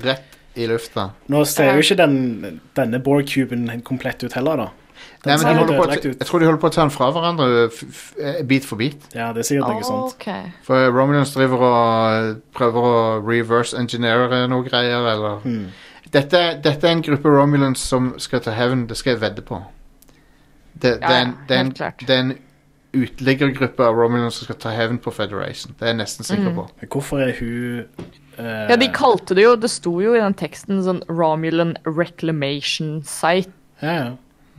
rett i lufta.
Nå ser jo ikke den, denne Borg-cuben komplett ut heller, da. Den
Nei, men de
ser litt
holder på,
ødelagt
å-
ut.
jeg tror de holder på å ta den fra hverandre f f eh, bit for bit.
Ja, det er sikkert noe sånt.
Ok.
For Romulans driver og eh, prøver å reverse engineere noe greier, eller
Hmm.
dette, dette er en gruppe Romulans som skal ta hevn, det skal jeg vedde på. Det,
Ja,
det, er en,
ja,
det, er en,
helt klart.
det er en uteliggergruppe av Romulans som skal ta hevn på Federation. Det er jeg nesten sikker
Mm.
på.
Men Hvorfor er hun eh,
Ja, de kalte det jo Det sto jo i den teksten sånn Romulan Reclamation Site.
ja, ja.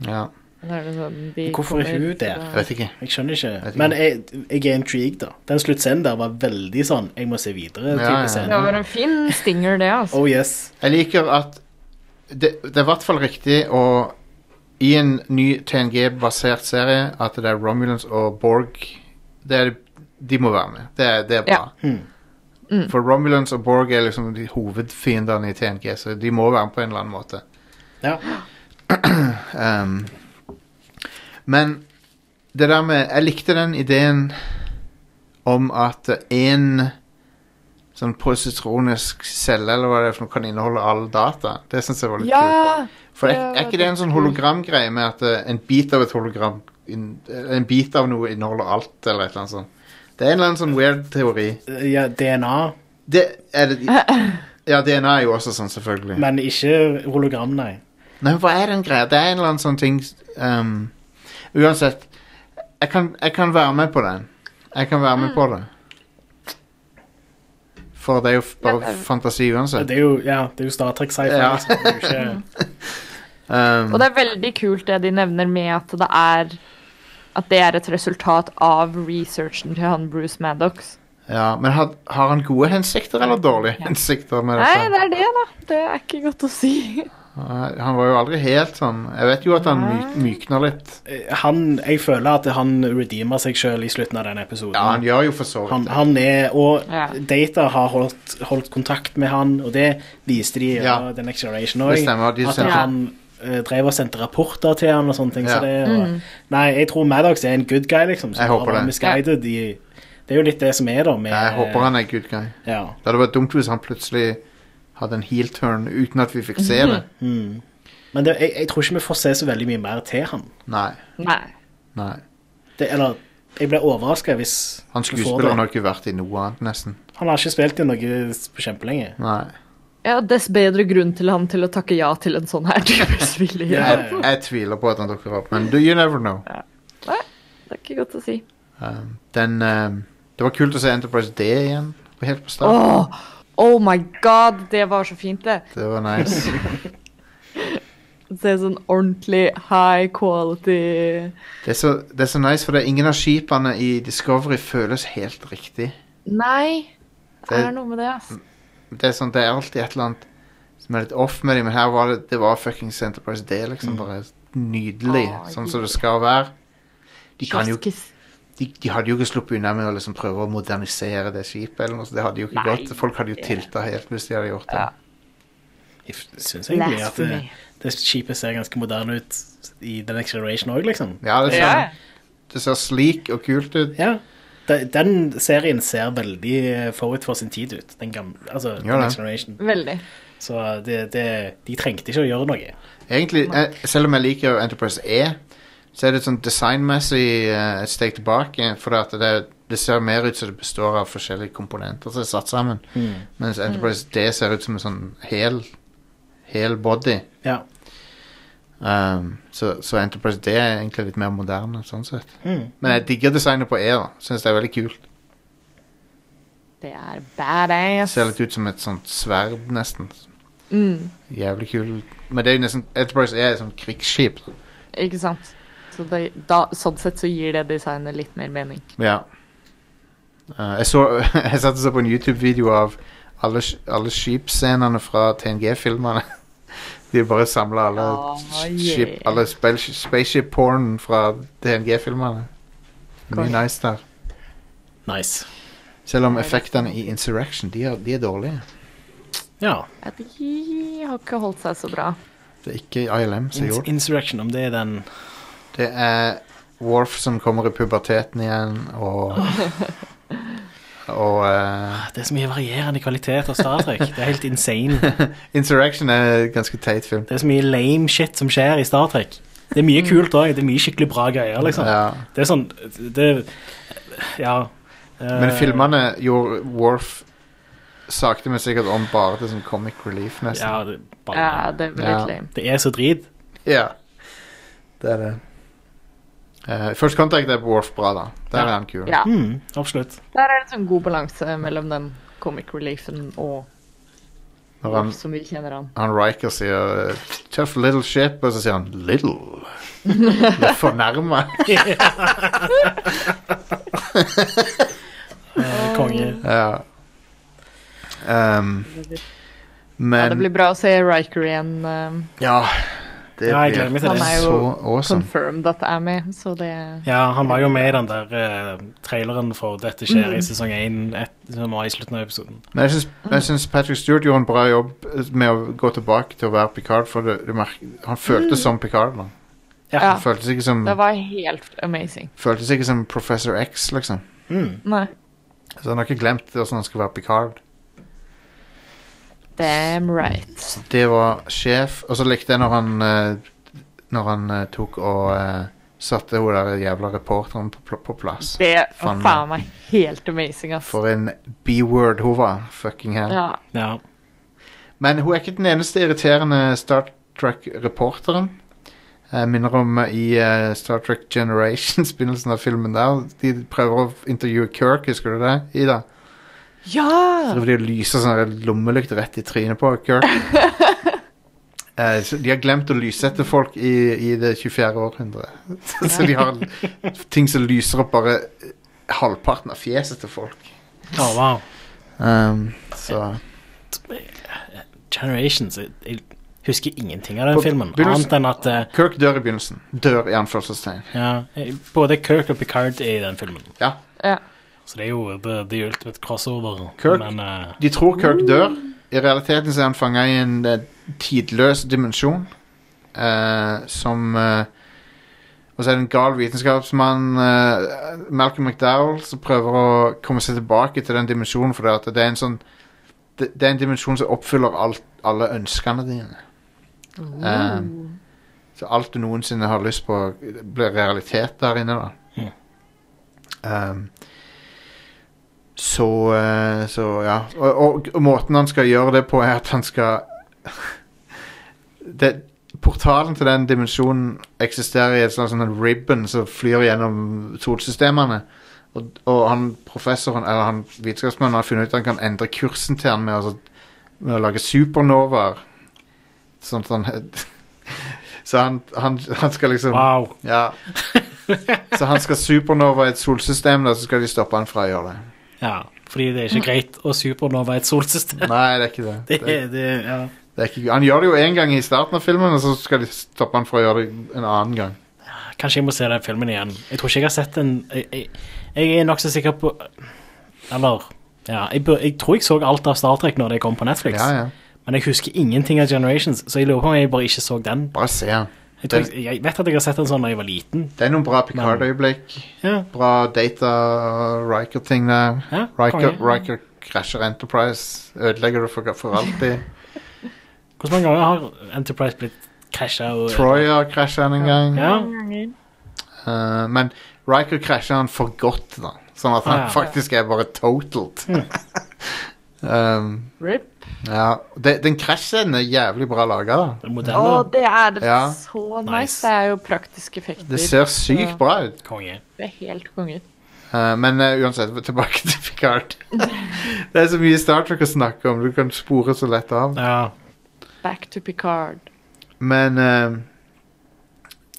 Ja,
Da er det sånn, de
Hvorfor er
kommer
hun der?
jeg vet ikke.
Jeg skjønner ikke.
vet ikke.
Men jeg, jeg er intrigued, da. Den sluttscenen der var veldig sånn 'jeg må se videre'.
Ja,
type
ja.
fra-
scene.
Det var en fin stinger, det, altså.
Oh yes.
Jeg liker at det, det er i hvert fall riktig å I en ny TNG-basert serie at det er Romulans og Borg det er, De må være med. Det er, det er bra.
Hmm.
Mm.
For Romulans og Borg er liksom de hovedfiendene i TNG, så de må være med på en eller annen måte.
Ja.
Um, men det der med Jeg likte den ideen om at én sånn positronisk celle eller hva det er for noe, kan inneholde all data. Det syns jeg var litt kult.
Ja,
For er,
Det
er
var
ikke det en sånn
kult.
hologramgreie med at eh, en bit av et hologram inn- eh, En bit av noe inneholder alt, eller et eller annet sånt? Det er en eller annen sånn weird teori.
ja DNA,
[LAUGHS]
Det er det Ja, DNA er jo også sånn, selvfølgelig.
men ikke hologram, nei.
Nei, hva er den greia? Det er en eller annen sånn ting ehm, Uansett, jeg kan, jeg kan være med på den. Jeg kan være med på
Mm.
det. For det er jo f- bare
Ja, det er-
fantasi uansett.
Det er jo, ja, det er jo Star Trek sci-fi.
Ja.
Liksom. Det er jo
[LAUGHS]
ikke-
Ehm,
Og det er veldig kult det de nevner med at det er At det er et resultat av researchen til han Bruce Maddox.
ja, men har, har han gode hensikter eller dårlige
Ja.
hensikter med
Nei,
dette?
det er det, da. Det er ikke godt å si.
Nei, Han var jo aldri helt sånn Jeg vet jo at han my mykner litt.
Han, jeg føler at han redeemer seg sjøl i slutten av den episoden.
Ja, han gjør jo for så
Han,
vidt det.
han er, og
Ja.
Data har holdt, holdt kontakt med han, og det viste de i
Ja.
ja. The Next Generation
Det
òg.
stemmer. De
At
sendte-
han eh, drev og sendte rapporter til han og sånne ting.
Ja.
Så det, og, Nei, jeg tror Maddox er en good guy, liksom. som
Jeg håper
bare var
det.
Misguided i, det er jo litt det som er, da. Med,
Jeg håper han er good guy.
Ja.
Det hadde vært dumt hvis han plutselig hadde en heel turn uten at vi fikk se
[LAUGHS]
det.
Mm. Men det, jeg, jeg tror ikke vi får se så veldig mye mer til han.
Nei.
[LAUGHS] Nei.
nei.
Det, eller jeg blir overraska hvis
Han
vi får
skuespilleren
det.
har ikke vært i noe annet, nesten.
Han har ikke spilt i noe på kjempelenge.
Nei.
Ja, dess bedre grunn til han til å takke ja til en sånn her [LAUGHS] type spilling.
Ja.
Jeg, jeg tviler på at han dukker opp, men do you never know.
Det er ikke godt å si.
Um, den um, Det var kult å se Enterprise D igjen. Helt på starten.
Åh, oh my god, det var så fint, det.
Det var nice.
Det er sånn ordentlig high quality
Det er, så, det er så nice, for det er ingen av skipene i Discovery føles helt riktig.
Nei, det
Det-
er noe med det, ass.
Det er, sånn, det er alltid et eller annet som er litt off med dem, men her var det, det var fuckings Enterprise D, liksom.
Mm.
Bare nydelig,
Ah,
sånn som det skal være. De, kan jo,
Kioskis.
de, de hadde jo ikke sluppet unna med å liksom prøve å modernisere det skipet, eller noe, så det hadde jo ikke
Nei.
gått. Folk hadde jo
Ja.
tilta helt hvis de hadde gjort det.
Ja.
Jeg syns egentlig at det,
Blasphemy.
det skipet ser ganske moderne ut i The Next Generation òg, liksom.
Ja, det ser,
Ja.
det ser sleek og kult ut.
Ja. De- Den serien ser veldig eh, forut for sin tid ut, den gamle, altså The
Gjør det.
Next Generation.
Veldig.
Så det, det, de trengte ikke å gjøre noe.
Egentlig, eh, selv om jeg liker Enterprise E, så er det sånn designmessig eh, et steg tilbake, for at det, det ser mer ut som det består av forskjellige komponenter som er satt sammen,
Mm.
mens Enterprise D ser ut som en sånn hel, hel body.
Ja.
Um, så, så Enterprise D er egentlig litt mer moderne, sånn sett.
Mm.
Men jeg digger designet på E, da. Syns det er veldig kult.
Det er badass.
Ser litt ut som et sånt sverd, nesten.
Mm,
Jævlig kul. Men det er jo nesten Enterprise E er et sånt krigsskip. da.
ikke sant. Så det, da, sånn sett så gir det designet litt mer mening.
Ja. Eh, jeg, så, [LAUGHS] jeg satt og så på en YouTube-video av alle, sk- alle skipscenene fra TNG-filmene. [LAUGHS] De bare samla alle,
Ah,
sk-
yeah.
skip- alle spel- spaceship-porn fra TNG-filmene. Mye
Konge.
nice der.
Nice.
Selv om effektene i Insurrection de er, de er dårlige.
Ja.
Ja, de har ikke holdt seg så bra.
Det er ikke ILM som
Ins
gjorde det.
Insurrection, om det er den
Det er Worf som kommer i puberteten igjen, og Og eh,
Det er så mye varierende kvalitet av Star Trek. Det er helt insane.
Insurrection er en ganske teit film.
Det er så mye lame shit som skjer i Star Trek. Det er mye kult òg. Det er mye skikkelig bra greier, liksom.
Mm. Ja.
Det er sånn Det Ja. Eh.
Men filmene gjorde Worf sakte, men sikkert om bare til sånn comic relief, nesten.
Ja, det, bare,
Ja, det var litt
Ja.
lame.
det er så drit.
Ja. Det er det. Uh, First Contact er Worf bra, da. Der
Ja.
er han kul.
Ja.
Mm,
[LAUGHS]
absolutt.
Der er det sånn god balanse mellom den comic reliefen og
Når han,
som vi kjenner han.
han Riker sier eh, 'tough little ship', og så sier han 'little'. Blir fornærma.
Eh, konge.
ja. Ehm,
Ja, det
men
blir bra å se Riker igjen. Um,
Ja, det
Ja, jeg gleder
blir
meg til
Han er
det.
jo-
så awesome.
confirmed at det er med, så det
Ja, han var jo med i den der eh, traileren for Dette skjer
Mm.
i sesong én, et- som var i slutten av episoden.
Men jeg syns, jeg synes Patrick Stewart gjorde en bra jobb eh, med å gå tilbake til å være Picard. For det, det merk- han føltes som Picard. Da.
Mm. Ja.
Han føltes ikke som,
Det var helt amazing.
føltes ikke som Professor X, liksom.
Mm.
Nei.
Så han har ikke glemt hvordan han skal være Picard.
Damn right.
Det var sjef. Og så likte jeg når han eh, Når han eh, tok og eh, satte hun der jævla reporteren på, pl på plass.
Det var
Faen.
faen meg helt amazing, ass.
For en B-word hun var. Fucking hell.
Ja.
Ja.
Men hun er ikke den eneste irriterende Star Trek-reporteren. Jeg minner om eh, i eh, Star Trek Generations, [LAUGHS] begynnelsen av filmen der. De prøver å intervjue Kirk, husker du det, Ida? Så
Ja!
driver de og lyser sånn lommelykt rett i trynet på
[LAUGHS]
Kirk. Eh, så de har glemt å lyssette folk i, i det 24. århundret. [LAUGHS] så de har ting som lyser opp bare halvparten av fjeset til folk.
Oh, wow.
Um, så
Generations jeg, jeg husker ingenting av den
På
filmen,
begynnelsen-
annet enn at eh,
Kirk dør i begynnelsen. Dør i anførselstegn.
ja, eh, både Kirk og Picard er i den filmen.
Ja.
ja.
Så det er jo the, the ultimate crossover.
Kirk-
Men eh,
De tror Kirk dør. I realiteten så er han fanga i en eh, tidløs dimensjon eh, som eh, Og så er det en gal vitenskapsmann, eh, Malcolm McDowell, som prøver å komme seg tilbake til den dimensjonen, for det, det er en sånn det, det er en dimensjon som oppfyller alt, alle ønskene dine. Um, så alt du noensinne har lyst på, blir realitet der inne, da. Um, så, eh, så ja. Og, og, og måten han skal gjøre det på, er at han skal [LAUGHS] det, Portalen til den dimensjonen eksisterer i et slags sånn ribbon som flyr gjennom solsystemene. Og, og han professoren, eller han vitenskapsmannen har funnet ut at han kan endre kursen til han med, altså, med å lage supernovaer. Sånn at han [LAUGHS] Så han, han, han skal liksom
wow.
Ja. Så han skal supernova i et solsystem, da, så skal de stoppe han fra å gjøre det.
Ja, fordi det er ikke greit å supernova et solsystem. [LAUGHS]
Nei, det er ikke det.
Det,
det,
det, ja.
det er ikke, han gjør det jo én gang i starten av filmen, og så skal de stoppe han fra å gjøre det en annen gang.
Kanskje jeg må se den filmen igjen. Jeg tror ikke jeg har sett den Jeg, jeg, jeg er nokså sikker på Eller ja, jeg, bør, jeg tror jeg så alt av Star Trek når det kom på Netflix,
Ja, ja.
men jeg husker ingenting av Generations, så jeg lurer på om jeg bare ikke så den.
Bare se han.
Jeg, tror, jeg, jeg vet at jeg har sett den sånn da jeg var liten.
Det er noen bra Picard-øyeblikk.
Ja,
Bra Data Riker-ting der.
ja
Riker,
konge.
Riker krasjer Enterprise. Ødelegger det for, for alltid.
Hvordan mange ganger har Enterprise blitt krasja? og-
Troy har krasja han en gang.
Ja.
Eh, men Riker krasjer han for godt, da. Sånn at han
Ah, Mm. ja.
faktisk er bare totaled. [LAUGHS] um,
RIP.
ja. De, den krasjen er jævlig bra laga, da.
Å,
Modeller.
det er
Ja.
så nice.
Nice.
Det er jo praktiske effekter.
Det ser sykt
Ja.
bra ut.
Konge.
Det er helt konge.
Eh, men eh, uansett, tilbake til Picard. det er så mye Star Trek å snakke om. Du kan spore så lett av.
Ja.
Back to Picard.
Men eh,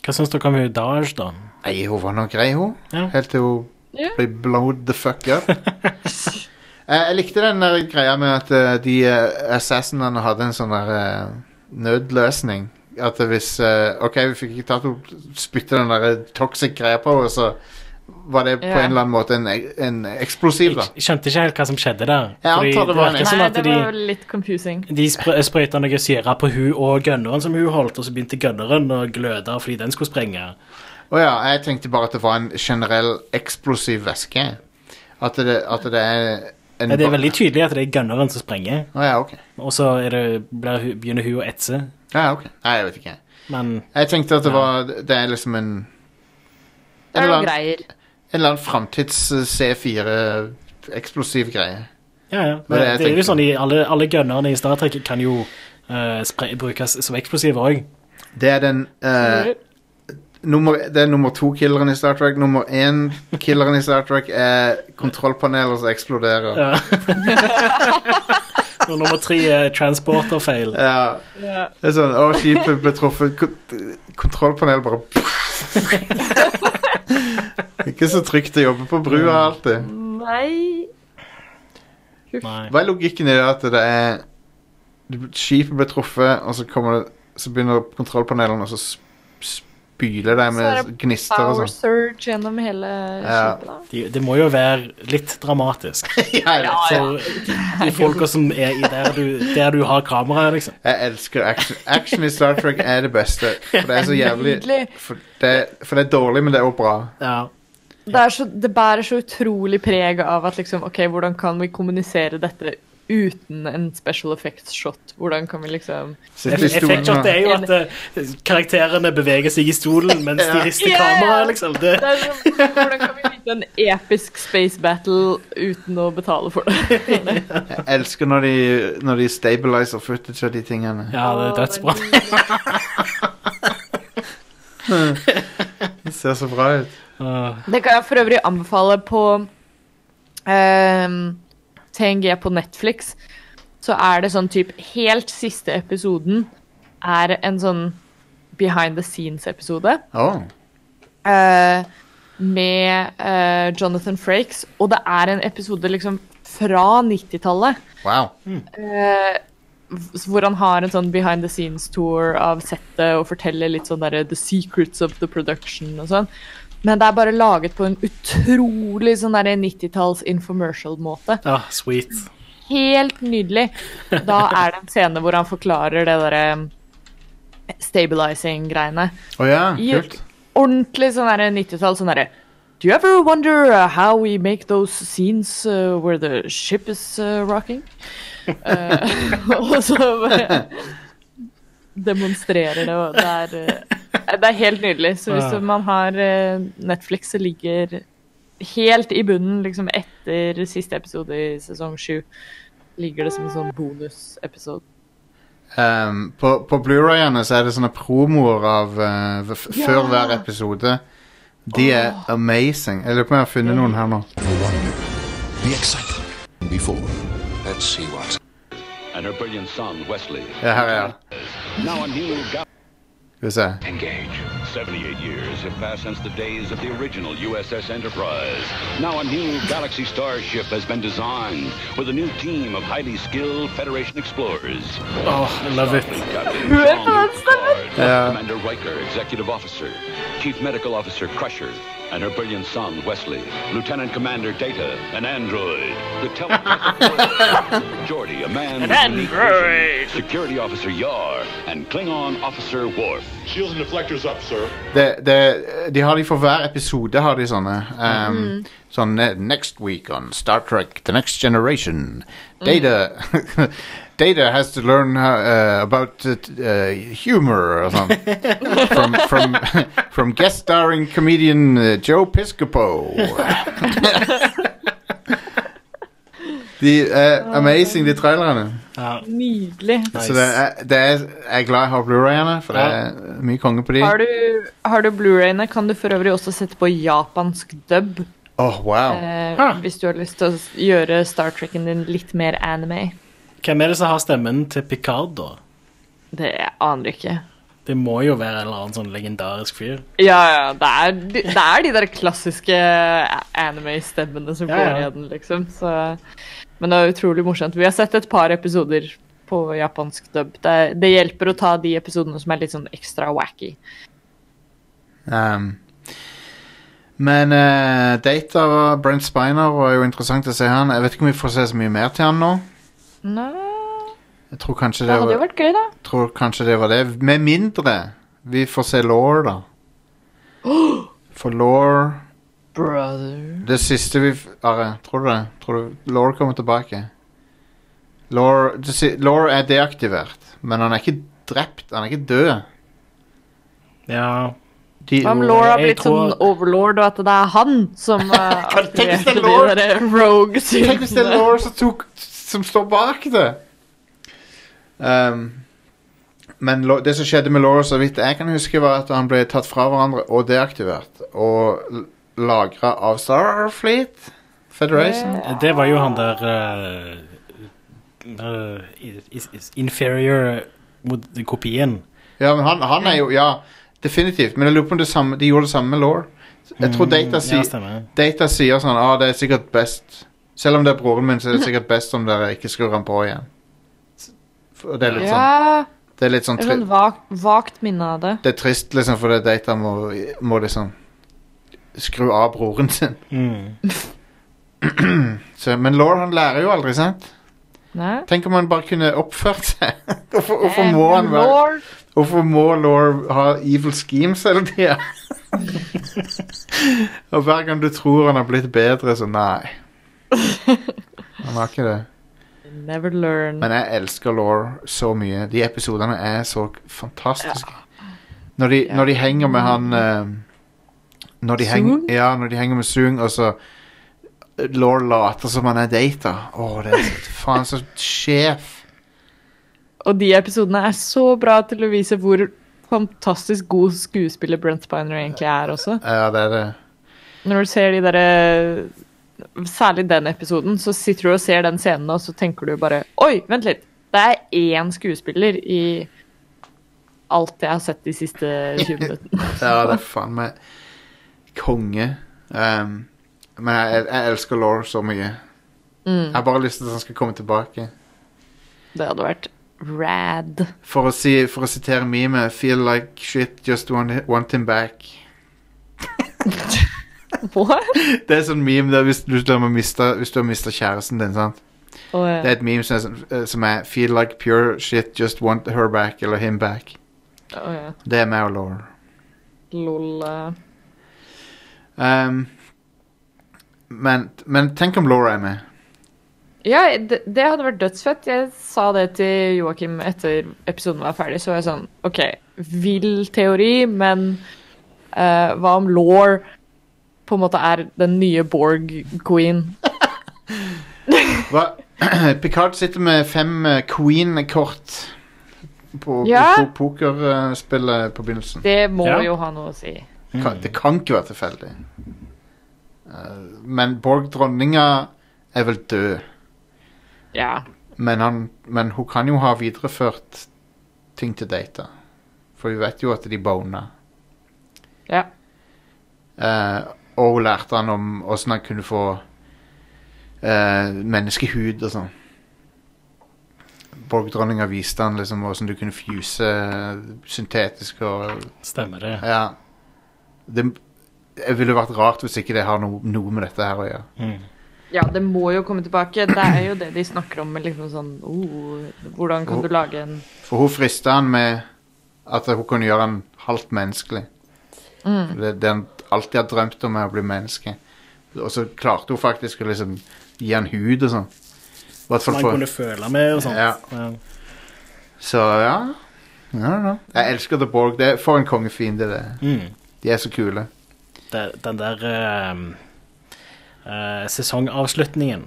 Hva syns dere om hun Daj, da?
Nei, hun var nå grei, hun.
Ja.
Helt til hun
Ja.
ble blowed the fuck up. [LAUGHS] Eh, jeg likte den der greia med at eh, de eh, assassinene hadde en sånn der eh, nødløsning. At hvis eh, OK, vi fikk ikke tatt henne, spytte den der eh, toxic greia på henne, så var det på
Ja.
en eller annen måte en, en eksplosiv, da.
Jeg skjønte ikke helt hva som skjedde der.
Jeg
Fordi
antar det var en-
virker
Nei,
som sånn at
det
de-
var litt confusing.
De spr sprøyta noe syre på hun og gønneren som hun holdt, og så begynte gønneren å gløde fordi den skulle sprenge.
Å ja, jeg tenkte bare at det var en generell eksplosiv væske. At det, at det er en
Men det er veldig tydelig at det er gønneren som sprenger,
Å ja, ok.
og så er det, blir, hun- begynner hun å etse.
Ja, ok. Nei, jeg vet ikke.
Men
Jeg tenkte at det var Det er liksom en
Det er
En eller
noen
annen,
greier.
en eller annen eh, framtids-C4-eksplosiv greie.
ja, ja.
var det
Men det,
jeg
er jo
tenkte.
sånn i alle, alle gønnerne i Star Trek kan jo eh, spre brukes som eksplosiver òg.
Det er den eh, nummer, Det er nummer to-killeren i Star Trek. Nummer én-killeren i Star Trek er kontrollpaneler som eksploderer.
Ja. Og nummer tre er transporter-feil.
Ja,
Ja.
det er sånn Å, skipet ble truffet. Kon- Kontrollpanelet bare [LAUGHS] Ikke så trygt å jobbe på brua alltid.
Nei
Nei.
Hva er logikken i det at det er du- Skipet blir truffet, og så, kommer det, så begynner kontrollpanelene å spyle deg
Så er
med gnister og
Power
sånn.
surge gjennom hele
Ja.
skipet, da.
Det, det må jo være litt dramatisk
Ja, jeg vet.
for de folka som er i der du, der du har kamera, liksom.
Jeg elsker action. Action i Star Trek er det beste. For det er så jævlig
Nydelig.
For det, for det er dårlig, men det er også bra.
Ja.
Det, er så, det bærer så utrolig preg av at liksom OK, hvordan kan vi kommunisere dette uten en special effects shot? Hvordan kan vi liksom
Sitter i stolen
Effektshot
her.
er jo at eh, karakterene beveger seg i stolen mens de
Ja.
rister
Ja, ja.
kameraet, liksom. Det,
det er sånn, Hvordan kan vi vite en episk space battle uten å betale for det?
Jeg elsker når de, når de stabiliser footage av de tingene.
ja, det er
[LAUGHS]
dødsbra.
Det ser så bra ut.
Åh.
Det kan jeg for øvrig anbefale på ehm, TNG på Netflix. Så er det sånn typ Helt siste episoden er en sånn behind the scenes-episode.
Åh,
eh, med eh, Jonathan Frakes, og det er en episode liksom fra 90-tallet
wow.
eh, v- hvor han har en sånn behind the scenes tour av settet og forteller litt sånn derre the secrets of the production og sånn. Men det er bare laget på en utrolig sånn derre 90-talls infomercial-måte.
Ah, sweet.
Helt nydelig. Da er det en scene hvor han forklarer det derre stabilizing-greiene
Å ja,
i-
kult.
ordentlig sånn der 90-tall. Sånn derre Do you ever wonder uh, how we make those scenes uh, where the ship is uh, rocking? Eh, [LAUGHS] og så bare demonstrerer det, og det er eh, Det er helt nydelig. Så hvis
Ja.
man har eh, Netflix, så ligger helt i bunnen, liksom etter siste episode i sesong sju, ligger det som en sånn bonusepisode.
Ehm, på på Blu-rayene så er det sånne promoer av eh, v- f
Ja.
før hver episode. De er amazing. Jeg lurer på om jeg har funnet noen her nå.
The excitement before.
Let's see what's
and her brilliant son, Wesley.
Ja, her er den.
Now a new gal-
Skal vi se.
engage. 78 years have passed since the days of the original USS Enterprise. Now a new Galaxy Starship has been designed with a new team of highly skilled Federation explorers.
Åh, I love it.
Captain
Who
Jean-Luc
influenced them?
Picard,
Yeah.
Commander Riker, Executive Officer, Chief Medical Officer Crusher, and her brilliant son, Wesley, Lieutenant Commander Data, an android, the telepathic Jordy, a man with unique vision, Security Officer Yar, and Klingon Officer Worf.
Shields and deflectors up, sir.
Det, det, de har de for hver episode, har de sånne. Um,
Mm.
Sånn eh, Next week on Star Trek The Next Generation.
Mm.
Data [LAUGHS] Data has to learn how, eh, about eh, t- eh, humor og sånn.
[LAUGHS]
from, from, [LAUGHS] from guest starring comedian eh,
[LAUGHS]
Joe Piscopo. de er amazing, de trailerne.
Ja,
Nydelig.
Så det
nice.
er, det er, jeg er glad jeg har Blu-rayene, for det er mye konge på de.
Har
Åh,
du, har du Blu-rayene, kan du for øvrig også sette på japansk dub.
wow.
Eh,
Ah.
Hvis du har lyst til å s- gjøre Star Trekken din litt mer anime.
Hvem er det som har stemmen til Picard, da?
Det aner jeg ikke.
Det må jo være en eller annen sånn legendarisk fyr.
Ja, ja, det er, de- det er de der klassiske a- anime-stemmene som
Ja,
går
ja.
igjen, liksom. Så. Men det er utrolig morsomt. Vi har sett et par episoder på japansk dub. Det, det hjelper å ta de episodene som er litt sånn ekstra wacky.
Um, men eh, Data og Brent Spiner var jo interessant å se han. Jeg vet ikke om vi får se så mye mer til han nå.
Nå,
Jeg tror kanskje
det
det
hadde jo
var,
vært gøy, da.
tror kanskje det, var det. Med mindre vi får se Law,
[GASPS]
da. For Law
Brother.
Det siste vi f- Are, tror du det? Tror du Law kommer tilbake? Law det si- Law er deaktivert, men han er ikke drept. Han er ikke død.
Ja,
De,
Hva om Laura har
jeg
blitt sånn
tror-
overlord, og at det er han som uh,
Tenk hvis det er
aktiverte de
Laura-
derre rogue
Tenk hvis det er
syndene?
Laura som, tok, som står bak det. Ehm, men Lo- det som skjedde med Laura, så vidt jeg kan huske, var at han ble tatt fra hverandre og deaktivert. Og lagra av Starfleet Federation.
det var jo han der eh, eh, is- is- is- Inferior mod kopien.
Ja, men han, han er jo Ja, definitivt. Men jeg lurer på om det samme, de gjorde det samme med Laura. Jeg tror Data,
Mm, ja,
sier-
stemmer.
Data sier sånn ah, det er sikkert best Selv om det er broren min, så er det sikkert best om dere ikke skrur han på igjen. Og det er litt sånn,
Ja,
det er litt sånn
et
tri-
sånn vagt, vagt minne av det.
Det er trist, liksom, fordi data må, må liksom skru av broren sin.
Mm.
Så, men Laura, han lærer jo aldri, sant?
Nei?
Tenk om han bare kunne oppført seg. [LAUGHS] Hvorfor, hvorfor må han være
Lord,
Hvorfor må Laura ha evil schemes hele tida? Og hver gang du tror han har blitt bedre, så nei. Han har ikke det.
Never learn.
Men jeg elsker Law så mye. De episodene er så fantastiske. Når, de,
Ja.
når de henger med han eh, når de heng,
Soong?
Ja, når de henger med Soong, og så Law later som han er data. Å, det er så- faen så sjef.
Og de episodene er så bra til å vise hvor fantastisk god skuespiller Brent Spiner egentlig er også.
Ja, det er det.
Når du ser de derre Særlig den episoden, så sitter du og ser den scenen, og så tenker du bare Oi, vent litt. Det er én skuespiller i alt jeg har sett de siste
[LAUGHS]
20 minuttene.
Ja, det er faen meg konge. Ehm, men jeg, jeg elsker Law så mye.
Mm.
Jeg har bare lyst til at han skal komme tilbake.
Det hadde vært rad. [LAUGHS]
For å, si, for å sitere meme Feel like shit, just want, want him back.
What?
Det er sånn meme der hvis du, du har mista, hvis du har mista kjæresten din, sant.
Og,
Det er et meme som er, sånn, eh, som er Feel like pure shit, just want her back, eller him back.
og, ja.
Det er meg og Laura.
Lol. eh.
Um, men, men tenk om Laura er med.
Ja, det, det hadde vært dødsfett. Jeg sa det til Joakim etter episoden var ferdig. Så var jeg sånn OK, vill teori, men eh, hva om Law på en måte er den nye Borg-queen?
Hva? [CLEARS THROAT] Picard sitter med fem eh, Queen-kort på
Ja.
på pokerspillet på begynnelsen.
Det må
Ja.
jo ha noe å si.
Kan, det kan ikke være tilfeldig. Eh, men Borg-dronninga er vel død.
Ja.
Men, han, men hun kan jo ha videreført ting til data. For vi vet jo at de bona.
ja.
Eh, og hun lærte han om åssen han kunne få eh, menneskehud og sånn. Borgdronninga viste han liksom åssen du kunne fuse eh, syntetisk og
Stemmer det.
Ja. Det det ville vært rart hvis ikke det har no, noe med dette her å gjøre.
Mm.
Ja, det må jo komme tilbake. Det er jo det de snakker om med liksom sånn oh, Hvordan kan du lage en
For hun frista han med at hun kunne gjøre han halvt menneskelig. Det, det han alltid har drømt om, er å bli menneske. Og så klarte hun faktisk å liksom gi han hud og sånn. Hvert
Som
fall
man kunne
for
føle med og sånt.
Ja. Så ja. I don't know. Jeg elsker The Borg. Det er for en kongefiende, det. er.
Mm.
De er så kule.
Det, den der ehm, eh, sesongavslutningen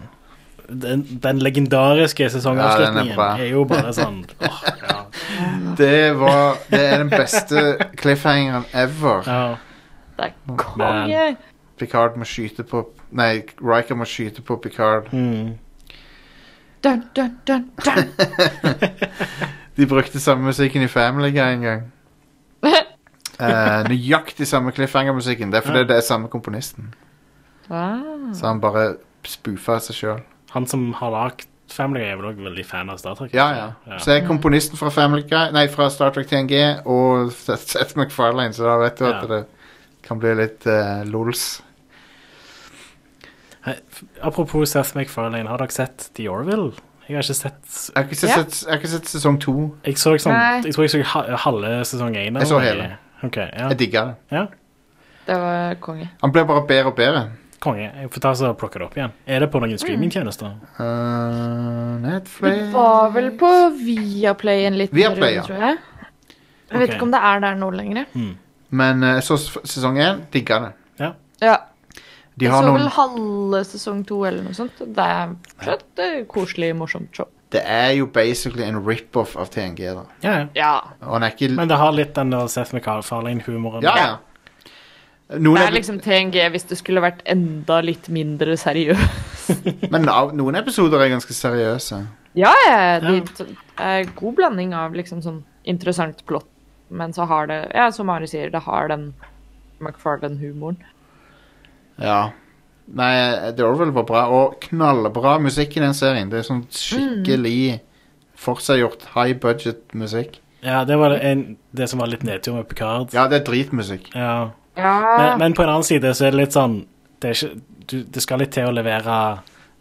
den, den legendariske sesongavslutningen
bra.
er, jo bare sånn [LAUGHS] åh, ja.
Det var Det er den beste cliffhangeren ever.
ja.
Det er konge!
Picard må skyte på Nei, Riker må skyte på Picard.
Mm.
Dun, dun, dun, dun. [LAUGHS]
De brukte samme musikken i Family Guy en gang. Eh, nøyaktig samme cliffhanger-musikken. Det er fordi det er samme komponisten.
Ah.
Så han bare spoofa seg sjøl.
Han som har lagd Family Guy, er vel også veldig fan av Star Trek?
Ja, ja. Så er komponisten fra Family Guy Nei, fra Star Trek TNG og [LAUGHS] Seth MacFarlane, så da vet du at
Ja.
det kan bli litt eh, lols.
Hei, f- Apropos Seth MacFarlane, har dere sett The Orville? Jeg har ikke sett
Jeg har ikke sett,
Ja.
jeg har ikke sett sesong to.
Jeg så sånn,
Nei.
jeg tror jeg så ha- halve sesong én.
Jeg så
eller
hele.
noe. Ok, ja.
Jeg digga det.
ja.
Det var konge.
Han blir bare bedre og bedre.
Konge. Jeg får ta og plukke det opp igjen. Er det på
Mm.
noen streamingtjenester?
Eh,
Det
Netflix
var vel på Viaplay en liten
Viaplay, ja.
runde, tror jeg. Jeg vet
Ok. Hmm.
ikke om det er der nå lenger.
Men eh, jeg så s- sesong én. Digga det.
Ja,
De
jeg
har
så
noen
vel halve sesong to eller noe sånt. Det er fortsatt eh, koselig, morsomt show.
Det er jo basically en rip-off av TNG, da.
Ja, ja.
Ja.
Og han er ikke
Men det har litt den der Seth MacFarlane-humoren.
Ja, ja.
Det
Noen
er
epi-
liksom TNG hvis det skulle vært enda litt mindre seriøst.
Men av- noen episoder er ganske seriøse.
[LAUGHS] Ja, ja. De
Ja.
t- er god blanding av liksom sånn interessant plott, men så har det, ja, som Mari sier, det har den McFarlane-humoren.
Ja. Nei, The Orville var bra, og knallbra musikk i den serien. Det er sånn skikkelig forseggjort high budget musikk.
Ja, det var det en, det som var litt nedtur med Picard.
Ja, det er dritmusikk.
Ja.
Ja.
Men, men på en annen side så er det litt sånn Det, er ikke, du, det skal litt til å levere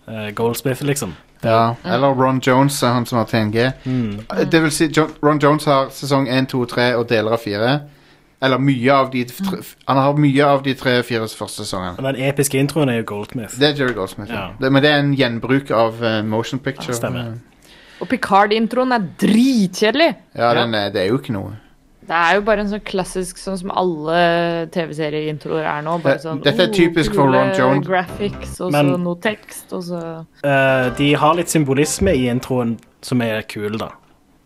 uh, Goldsmith, liksom.
Ja. Mm. Eller Ron Jones er han som har TNG. Det vil si, Jo- Ron Jones har sesong 1, 2, 3 og deler av 4. Eller mye av de tre, Han har mye av de tre-fire første sesongene.
Den episke introen er jo Goldsmith.
Det er Jerry Goldsmith. Ja.
Ja.
Det, men det er en gjenbruk av eh, motion picture.
Ja, stemmer.
Og Picard-introen er dritkjedelig!
Ja, den er, det er jo ikke noe.
Det er jo bare en sånn klassisk sånn som alle TV-serieintroer er nå. Bare
Det-
sånn,
dette er typisk for
kule
Ron Jones.
Graphics, og så
Men-
noe tekst, og så
Eh, de har litt symbolisme i introen som er kul, da.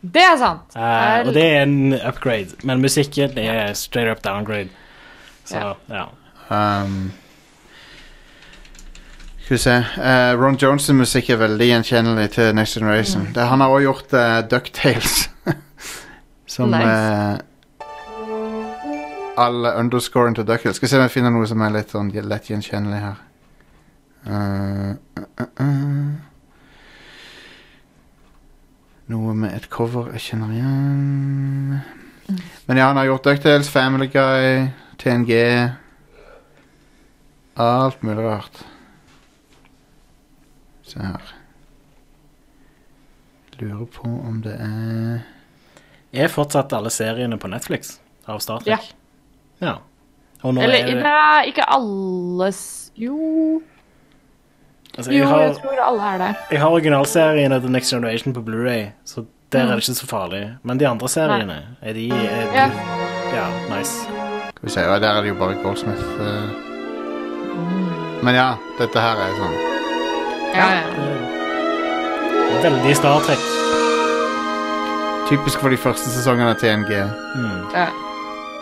Det er sant!
Eh, og det er en upgrade, men musikken er straight up downgrade. Så,
Ja.
ja.
Um, skal vi se eh, Ron Jones' musikk er veldig gjenkjennelig til Next Generation. Det, han har også gjort eh, Ducktales. [LAUGHS] som
Nice.
eh, All underscoren til Ducktales. Skal vi se om jeg finner noe som er litt sånn lett gjenkjennelig her. Eh, eh, eh, eh. Noe med et cover jeg kjenner igjen Men ja, han har gjort Ducktales, Family Guy, TNG Alt mulig rart. Se her. Lurer på om det er
Er fortsatt alle seriene på Netflix av Star Trek? Ja. Og nå
Eller
er det
nei, ikke alles Jo
altså,
Jo,
jeg,
jeg
har,
tror alle er der.
jeg har originalserien av The Next Generation på Blu-ray så der er det ikke så farlig. Men de andre seriene, er de er,
Mm. Ja.
ja, nice.
Skal vi se, ja, der er det jo bare Goldsmith. eh. Men ja, dette her er sånn
Ja, ja.
Veldig Star Trek.
typisk for de første sesongene av TNG.
Mm.
Ja.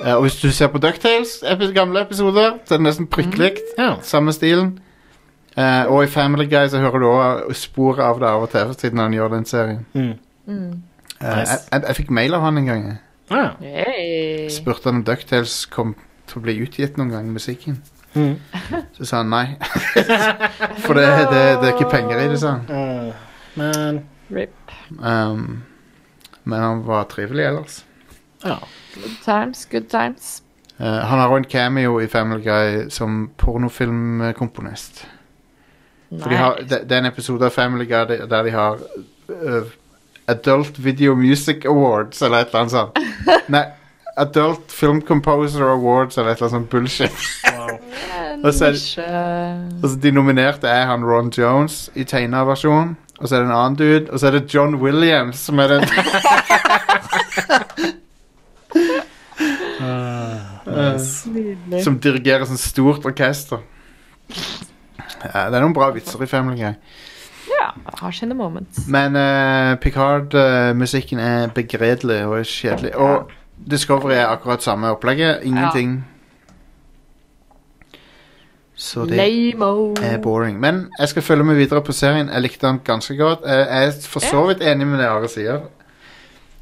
Eh, og hvis du ser på Ducktales, epi- gamle episoder, så er det nesten prikklikt.
Ja.
Samme stilen. Eh, og i Family Guy så hører du òg sporet av det av og til, siden han gjør den serien.
Mm.
Eh,
Nice.
jeg, jeg, jeg fikk mail av han en gang. jeg.
ja.
Hey.
spurte han om DuckTales kom til å bli utgitt noen gang, musikken.
Mhm.
Så sa han nei. [LAUGHS] For det, det, det er ikke penger i det, sa han.
Eh, men
Rip.
Um, men han var trivelig ellers.
ja.
Good times, good times.
Eh, han har òg en cameo i Family Guy som pornofilmkomponist. For de har, det, det er en episode av Family Guy de- der de har eh, Adult Video Music Awards eller et eller annet sånt. Nei, Adult Film Composer Awards eller et eller annet sånt bullshit. [LAUGHS] og så er det-
Nisje
Altså, de nominerte er han Ron Jones i tegna versjon, og så er det en annen dude, og så er det John Williams som er den
Nydelig.
som dirigerer sånn stort orkester. Ja, det er noen bra vitser i Family Guy.
Ja. Har sine moments.
Men eh, Picard-musikken er begredelig og er kjedelig. Og Discovery er akkurat samme opplegget. Ingenting. Så det Eh,
Lame-o.
er boring. Men jeg skal følge med videre på serien. Jeg likte den ganske godt. Eh, Jeg er for så vidt enig med det Are sier,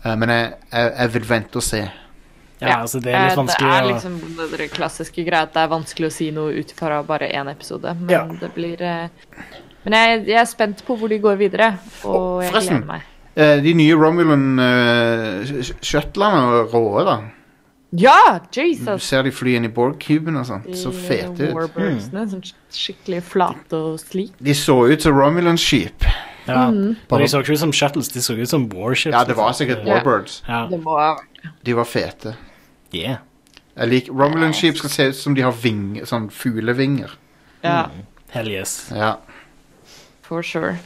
Eh, men jeg, jeg, jeg vil vente og se.
ja, altså det er litt
Eh, Det er
vanskelig å
liksom det der klassiske greia at det er vanskelig å si noe ut fra bare én episode. Men
Ja.
det blir eh, Men jeg, jeg er spent på hvor de går videre, og
Å,
jeg
forresten.
gleder meg.
Eh, De nye Romulan eh, sh- Shuttlene er råe, da.
Ja!
Du
Jesus!
ser de fly inn i Borg-kuben og sånt. Mm, Så
De
fete ut. Mm.
Warburgsene, sånn sk- skikkelig flate og slik.
De så ut som Romulan-skip.
ja.
Mm.
Men
Bare-
de så ikke ut som shuttles, de så ut som warships.
Ja, det var
liksom.
sikkert Warbirds.
Ja.
Det må ha
De var fete.
Yeah.
Jeg liker Romulan-skip skal se ut som de har ving, sånn fuglevinger.
Ja,
Hell yes.
Ja.
for sure.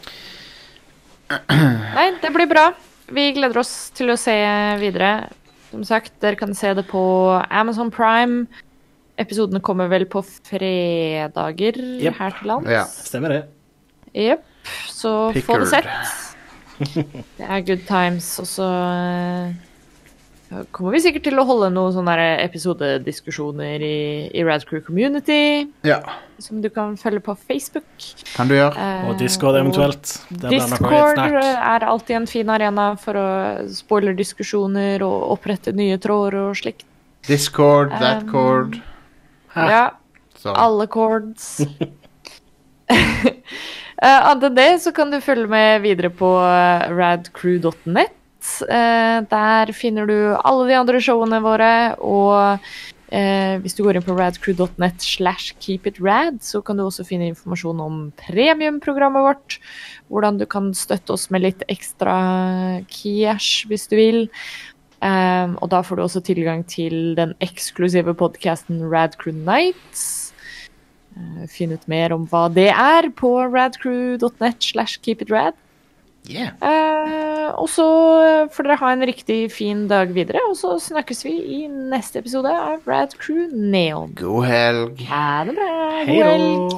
Nei, det blir bra. Vi gleder oss til å se videre. Som sagt, dere kan se det på Amazon Prime. Episodene kommer vel på fredager
Jep.
her til lands.
Ja.
Stemmer det.
Jep, så få det
Pickard.
sett. Det er good times, og så eh, kommer vi sikkert til å holde noen sånne der episodediskusjoner i, i Rad Crew Community,
ja.
som du kan følge på Facebook.
Kan du gjøre?
Eh,
Og Discord eventuelt. Der blir det nok litt
Discord
snakk.
eh, er alltid en fin arena for å spoilerdiskusjoner og opprette nye tråder og slikt.
Discord, Thatcord
Ja,
så.
alle chords. [LAUGHS] Eh, Annet enn det så kan du følge med videre på eh, radcrew.net. Eh, der finner du alle de andre showene våre, og eh, hvis du går inn på radcrew.net slash keepitrad, så kan du også finne informasjon om premiumprogrammet vårt, hvordan du kan støtte oss med litt ekstra cash hvis du vil. Ehm, og da får du også tilgang til den eksklusive podkasten Radcrew Nights. Eh, Finn ut mer om hva det er på radcrew.net slash keepitrad.
Yeah.
Eh, og så får dere ha en riktig fin dag videre, og så snakkes vi i neste episode av Radcrew Neon.
God helg.
Ha det bra.
Hei
God helg.
da.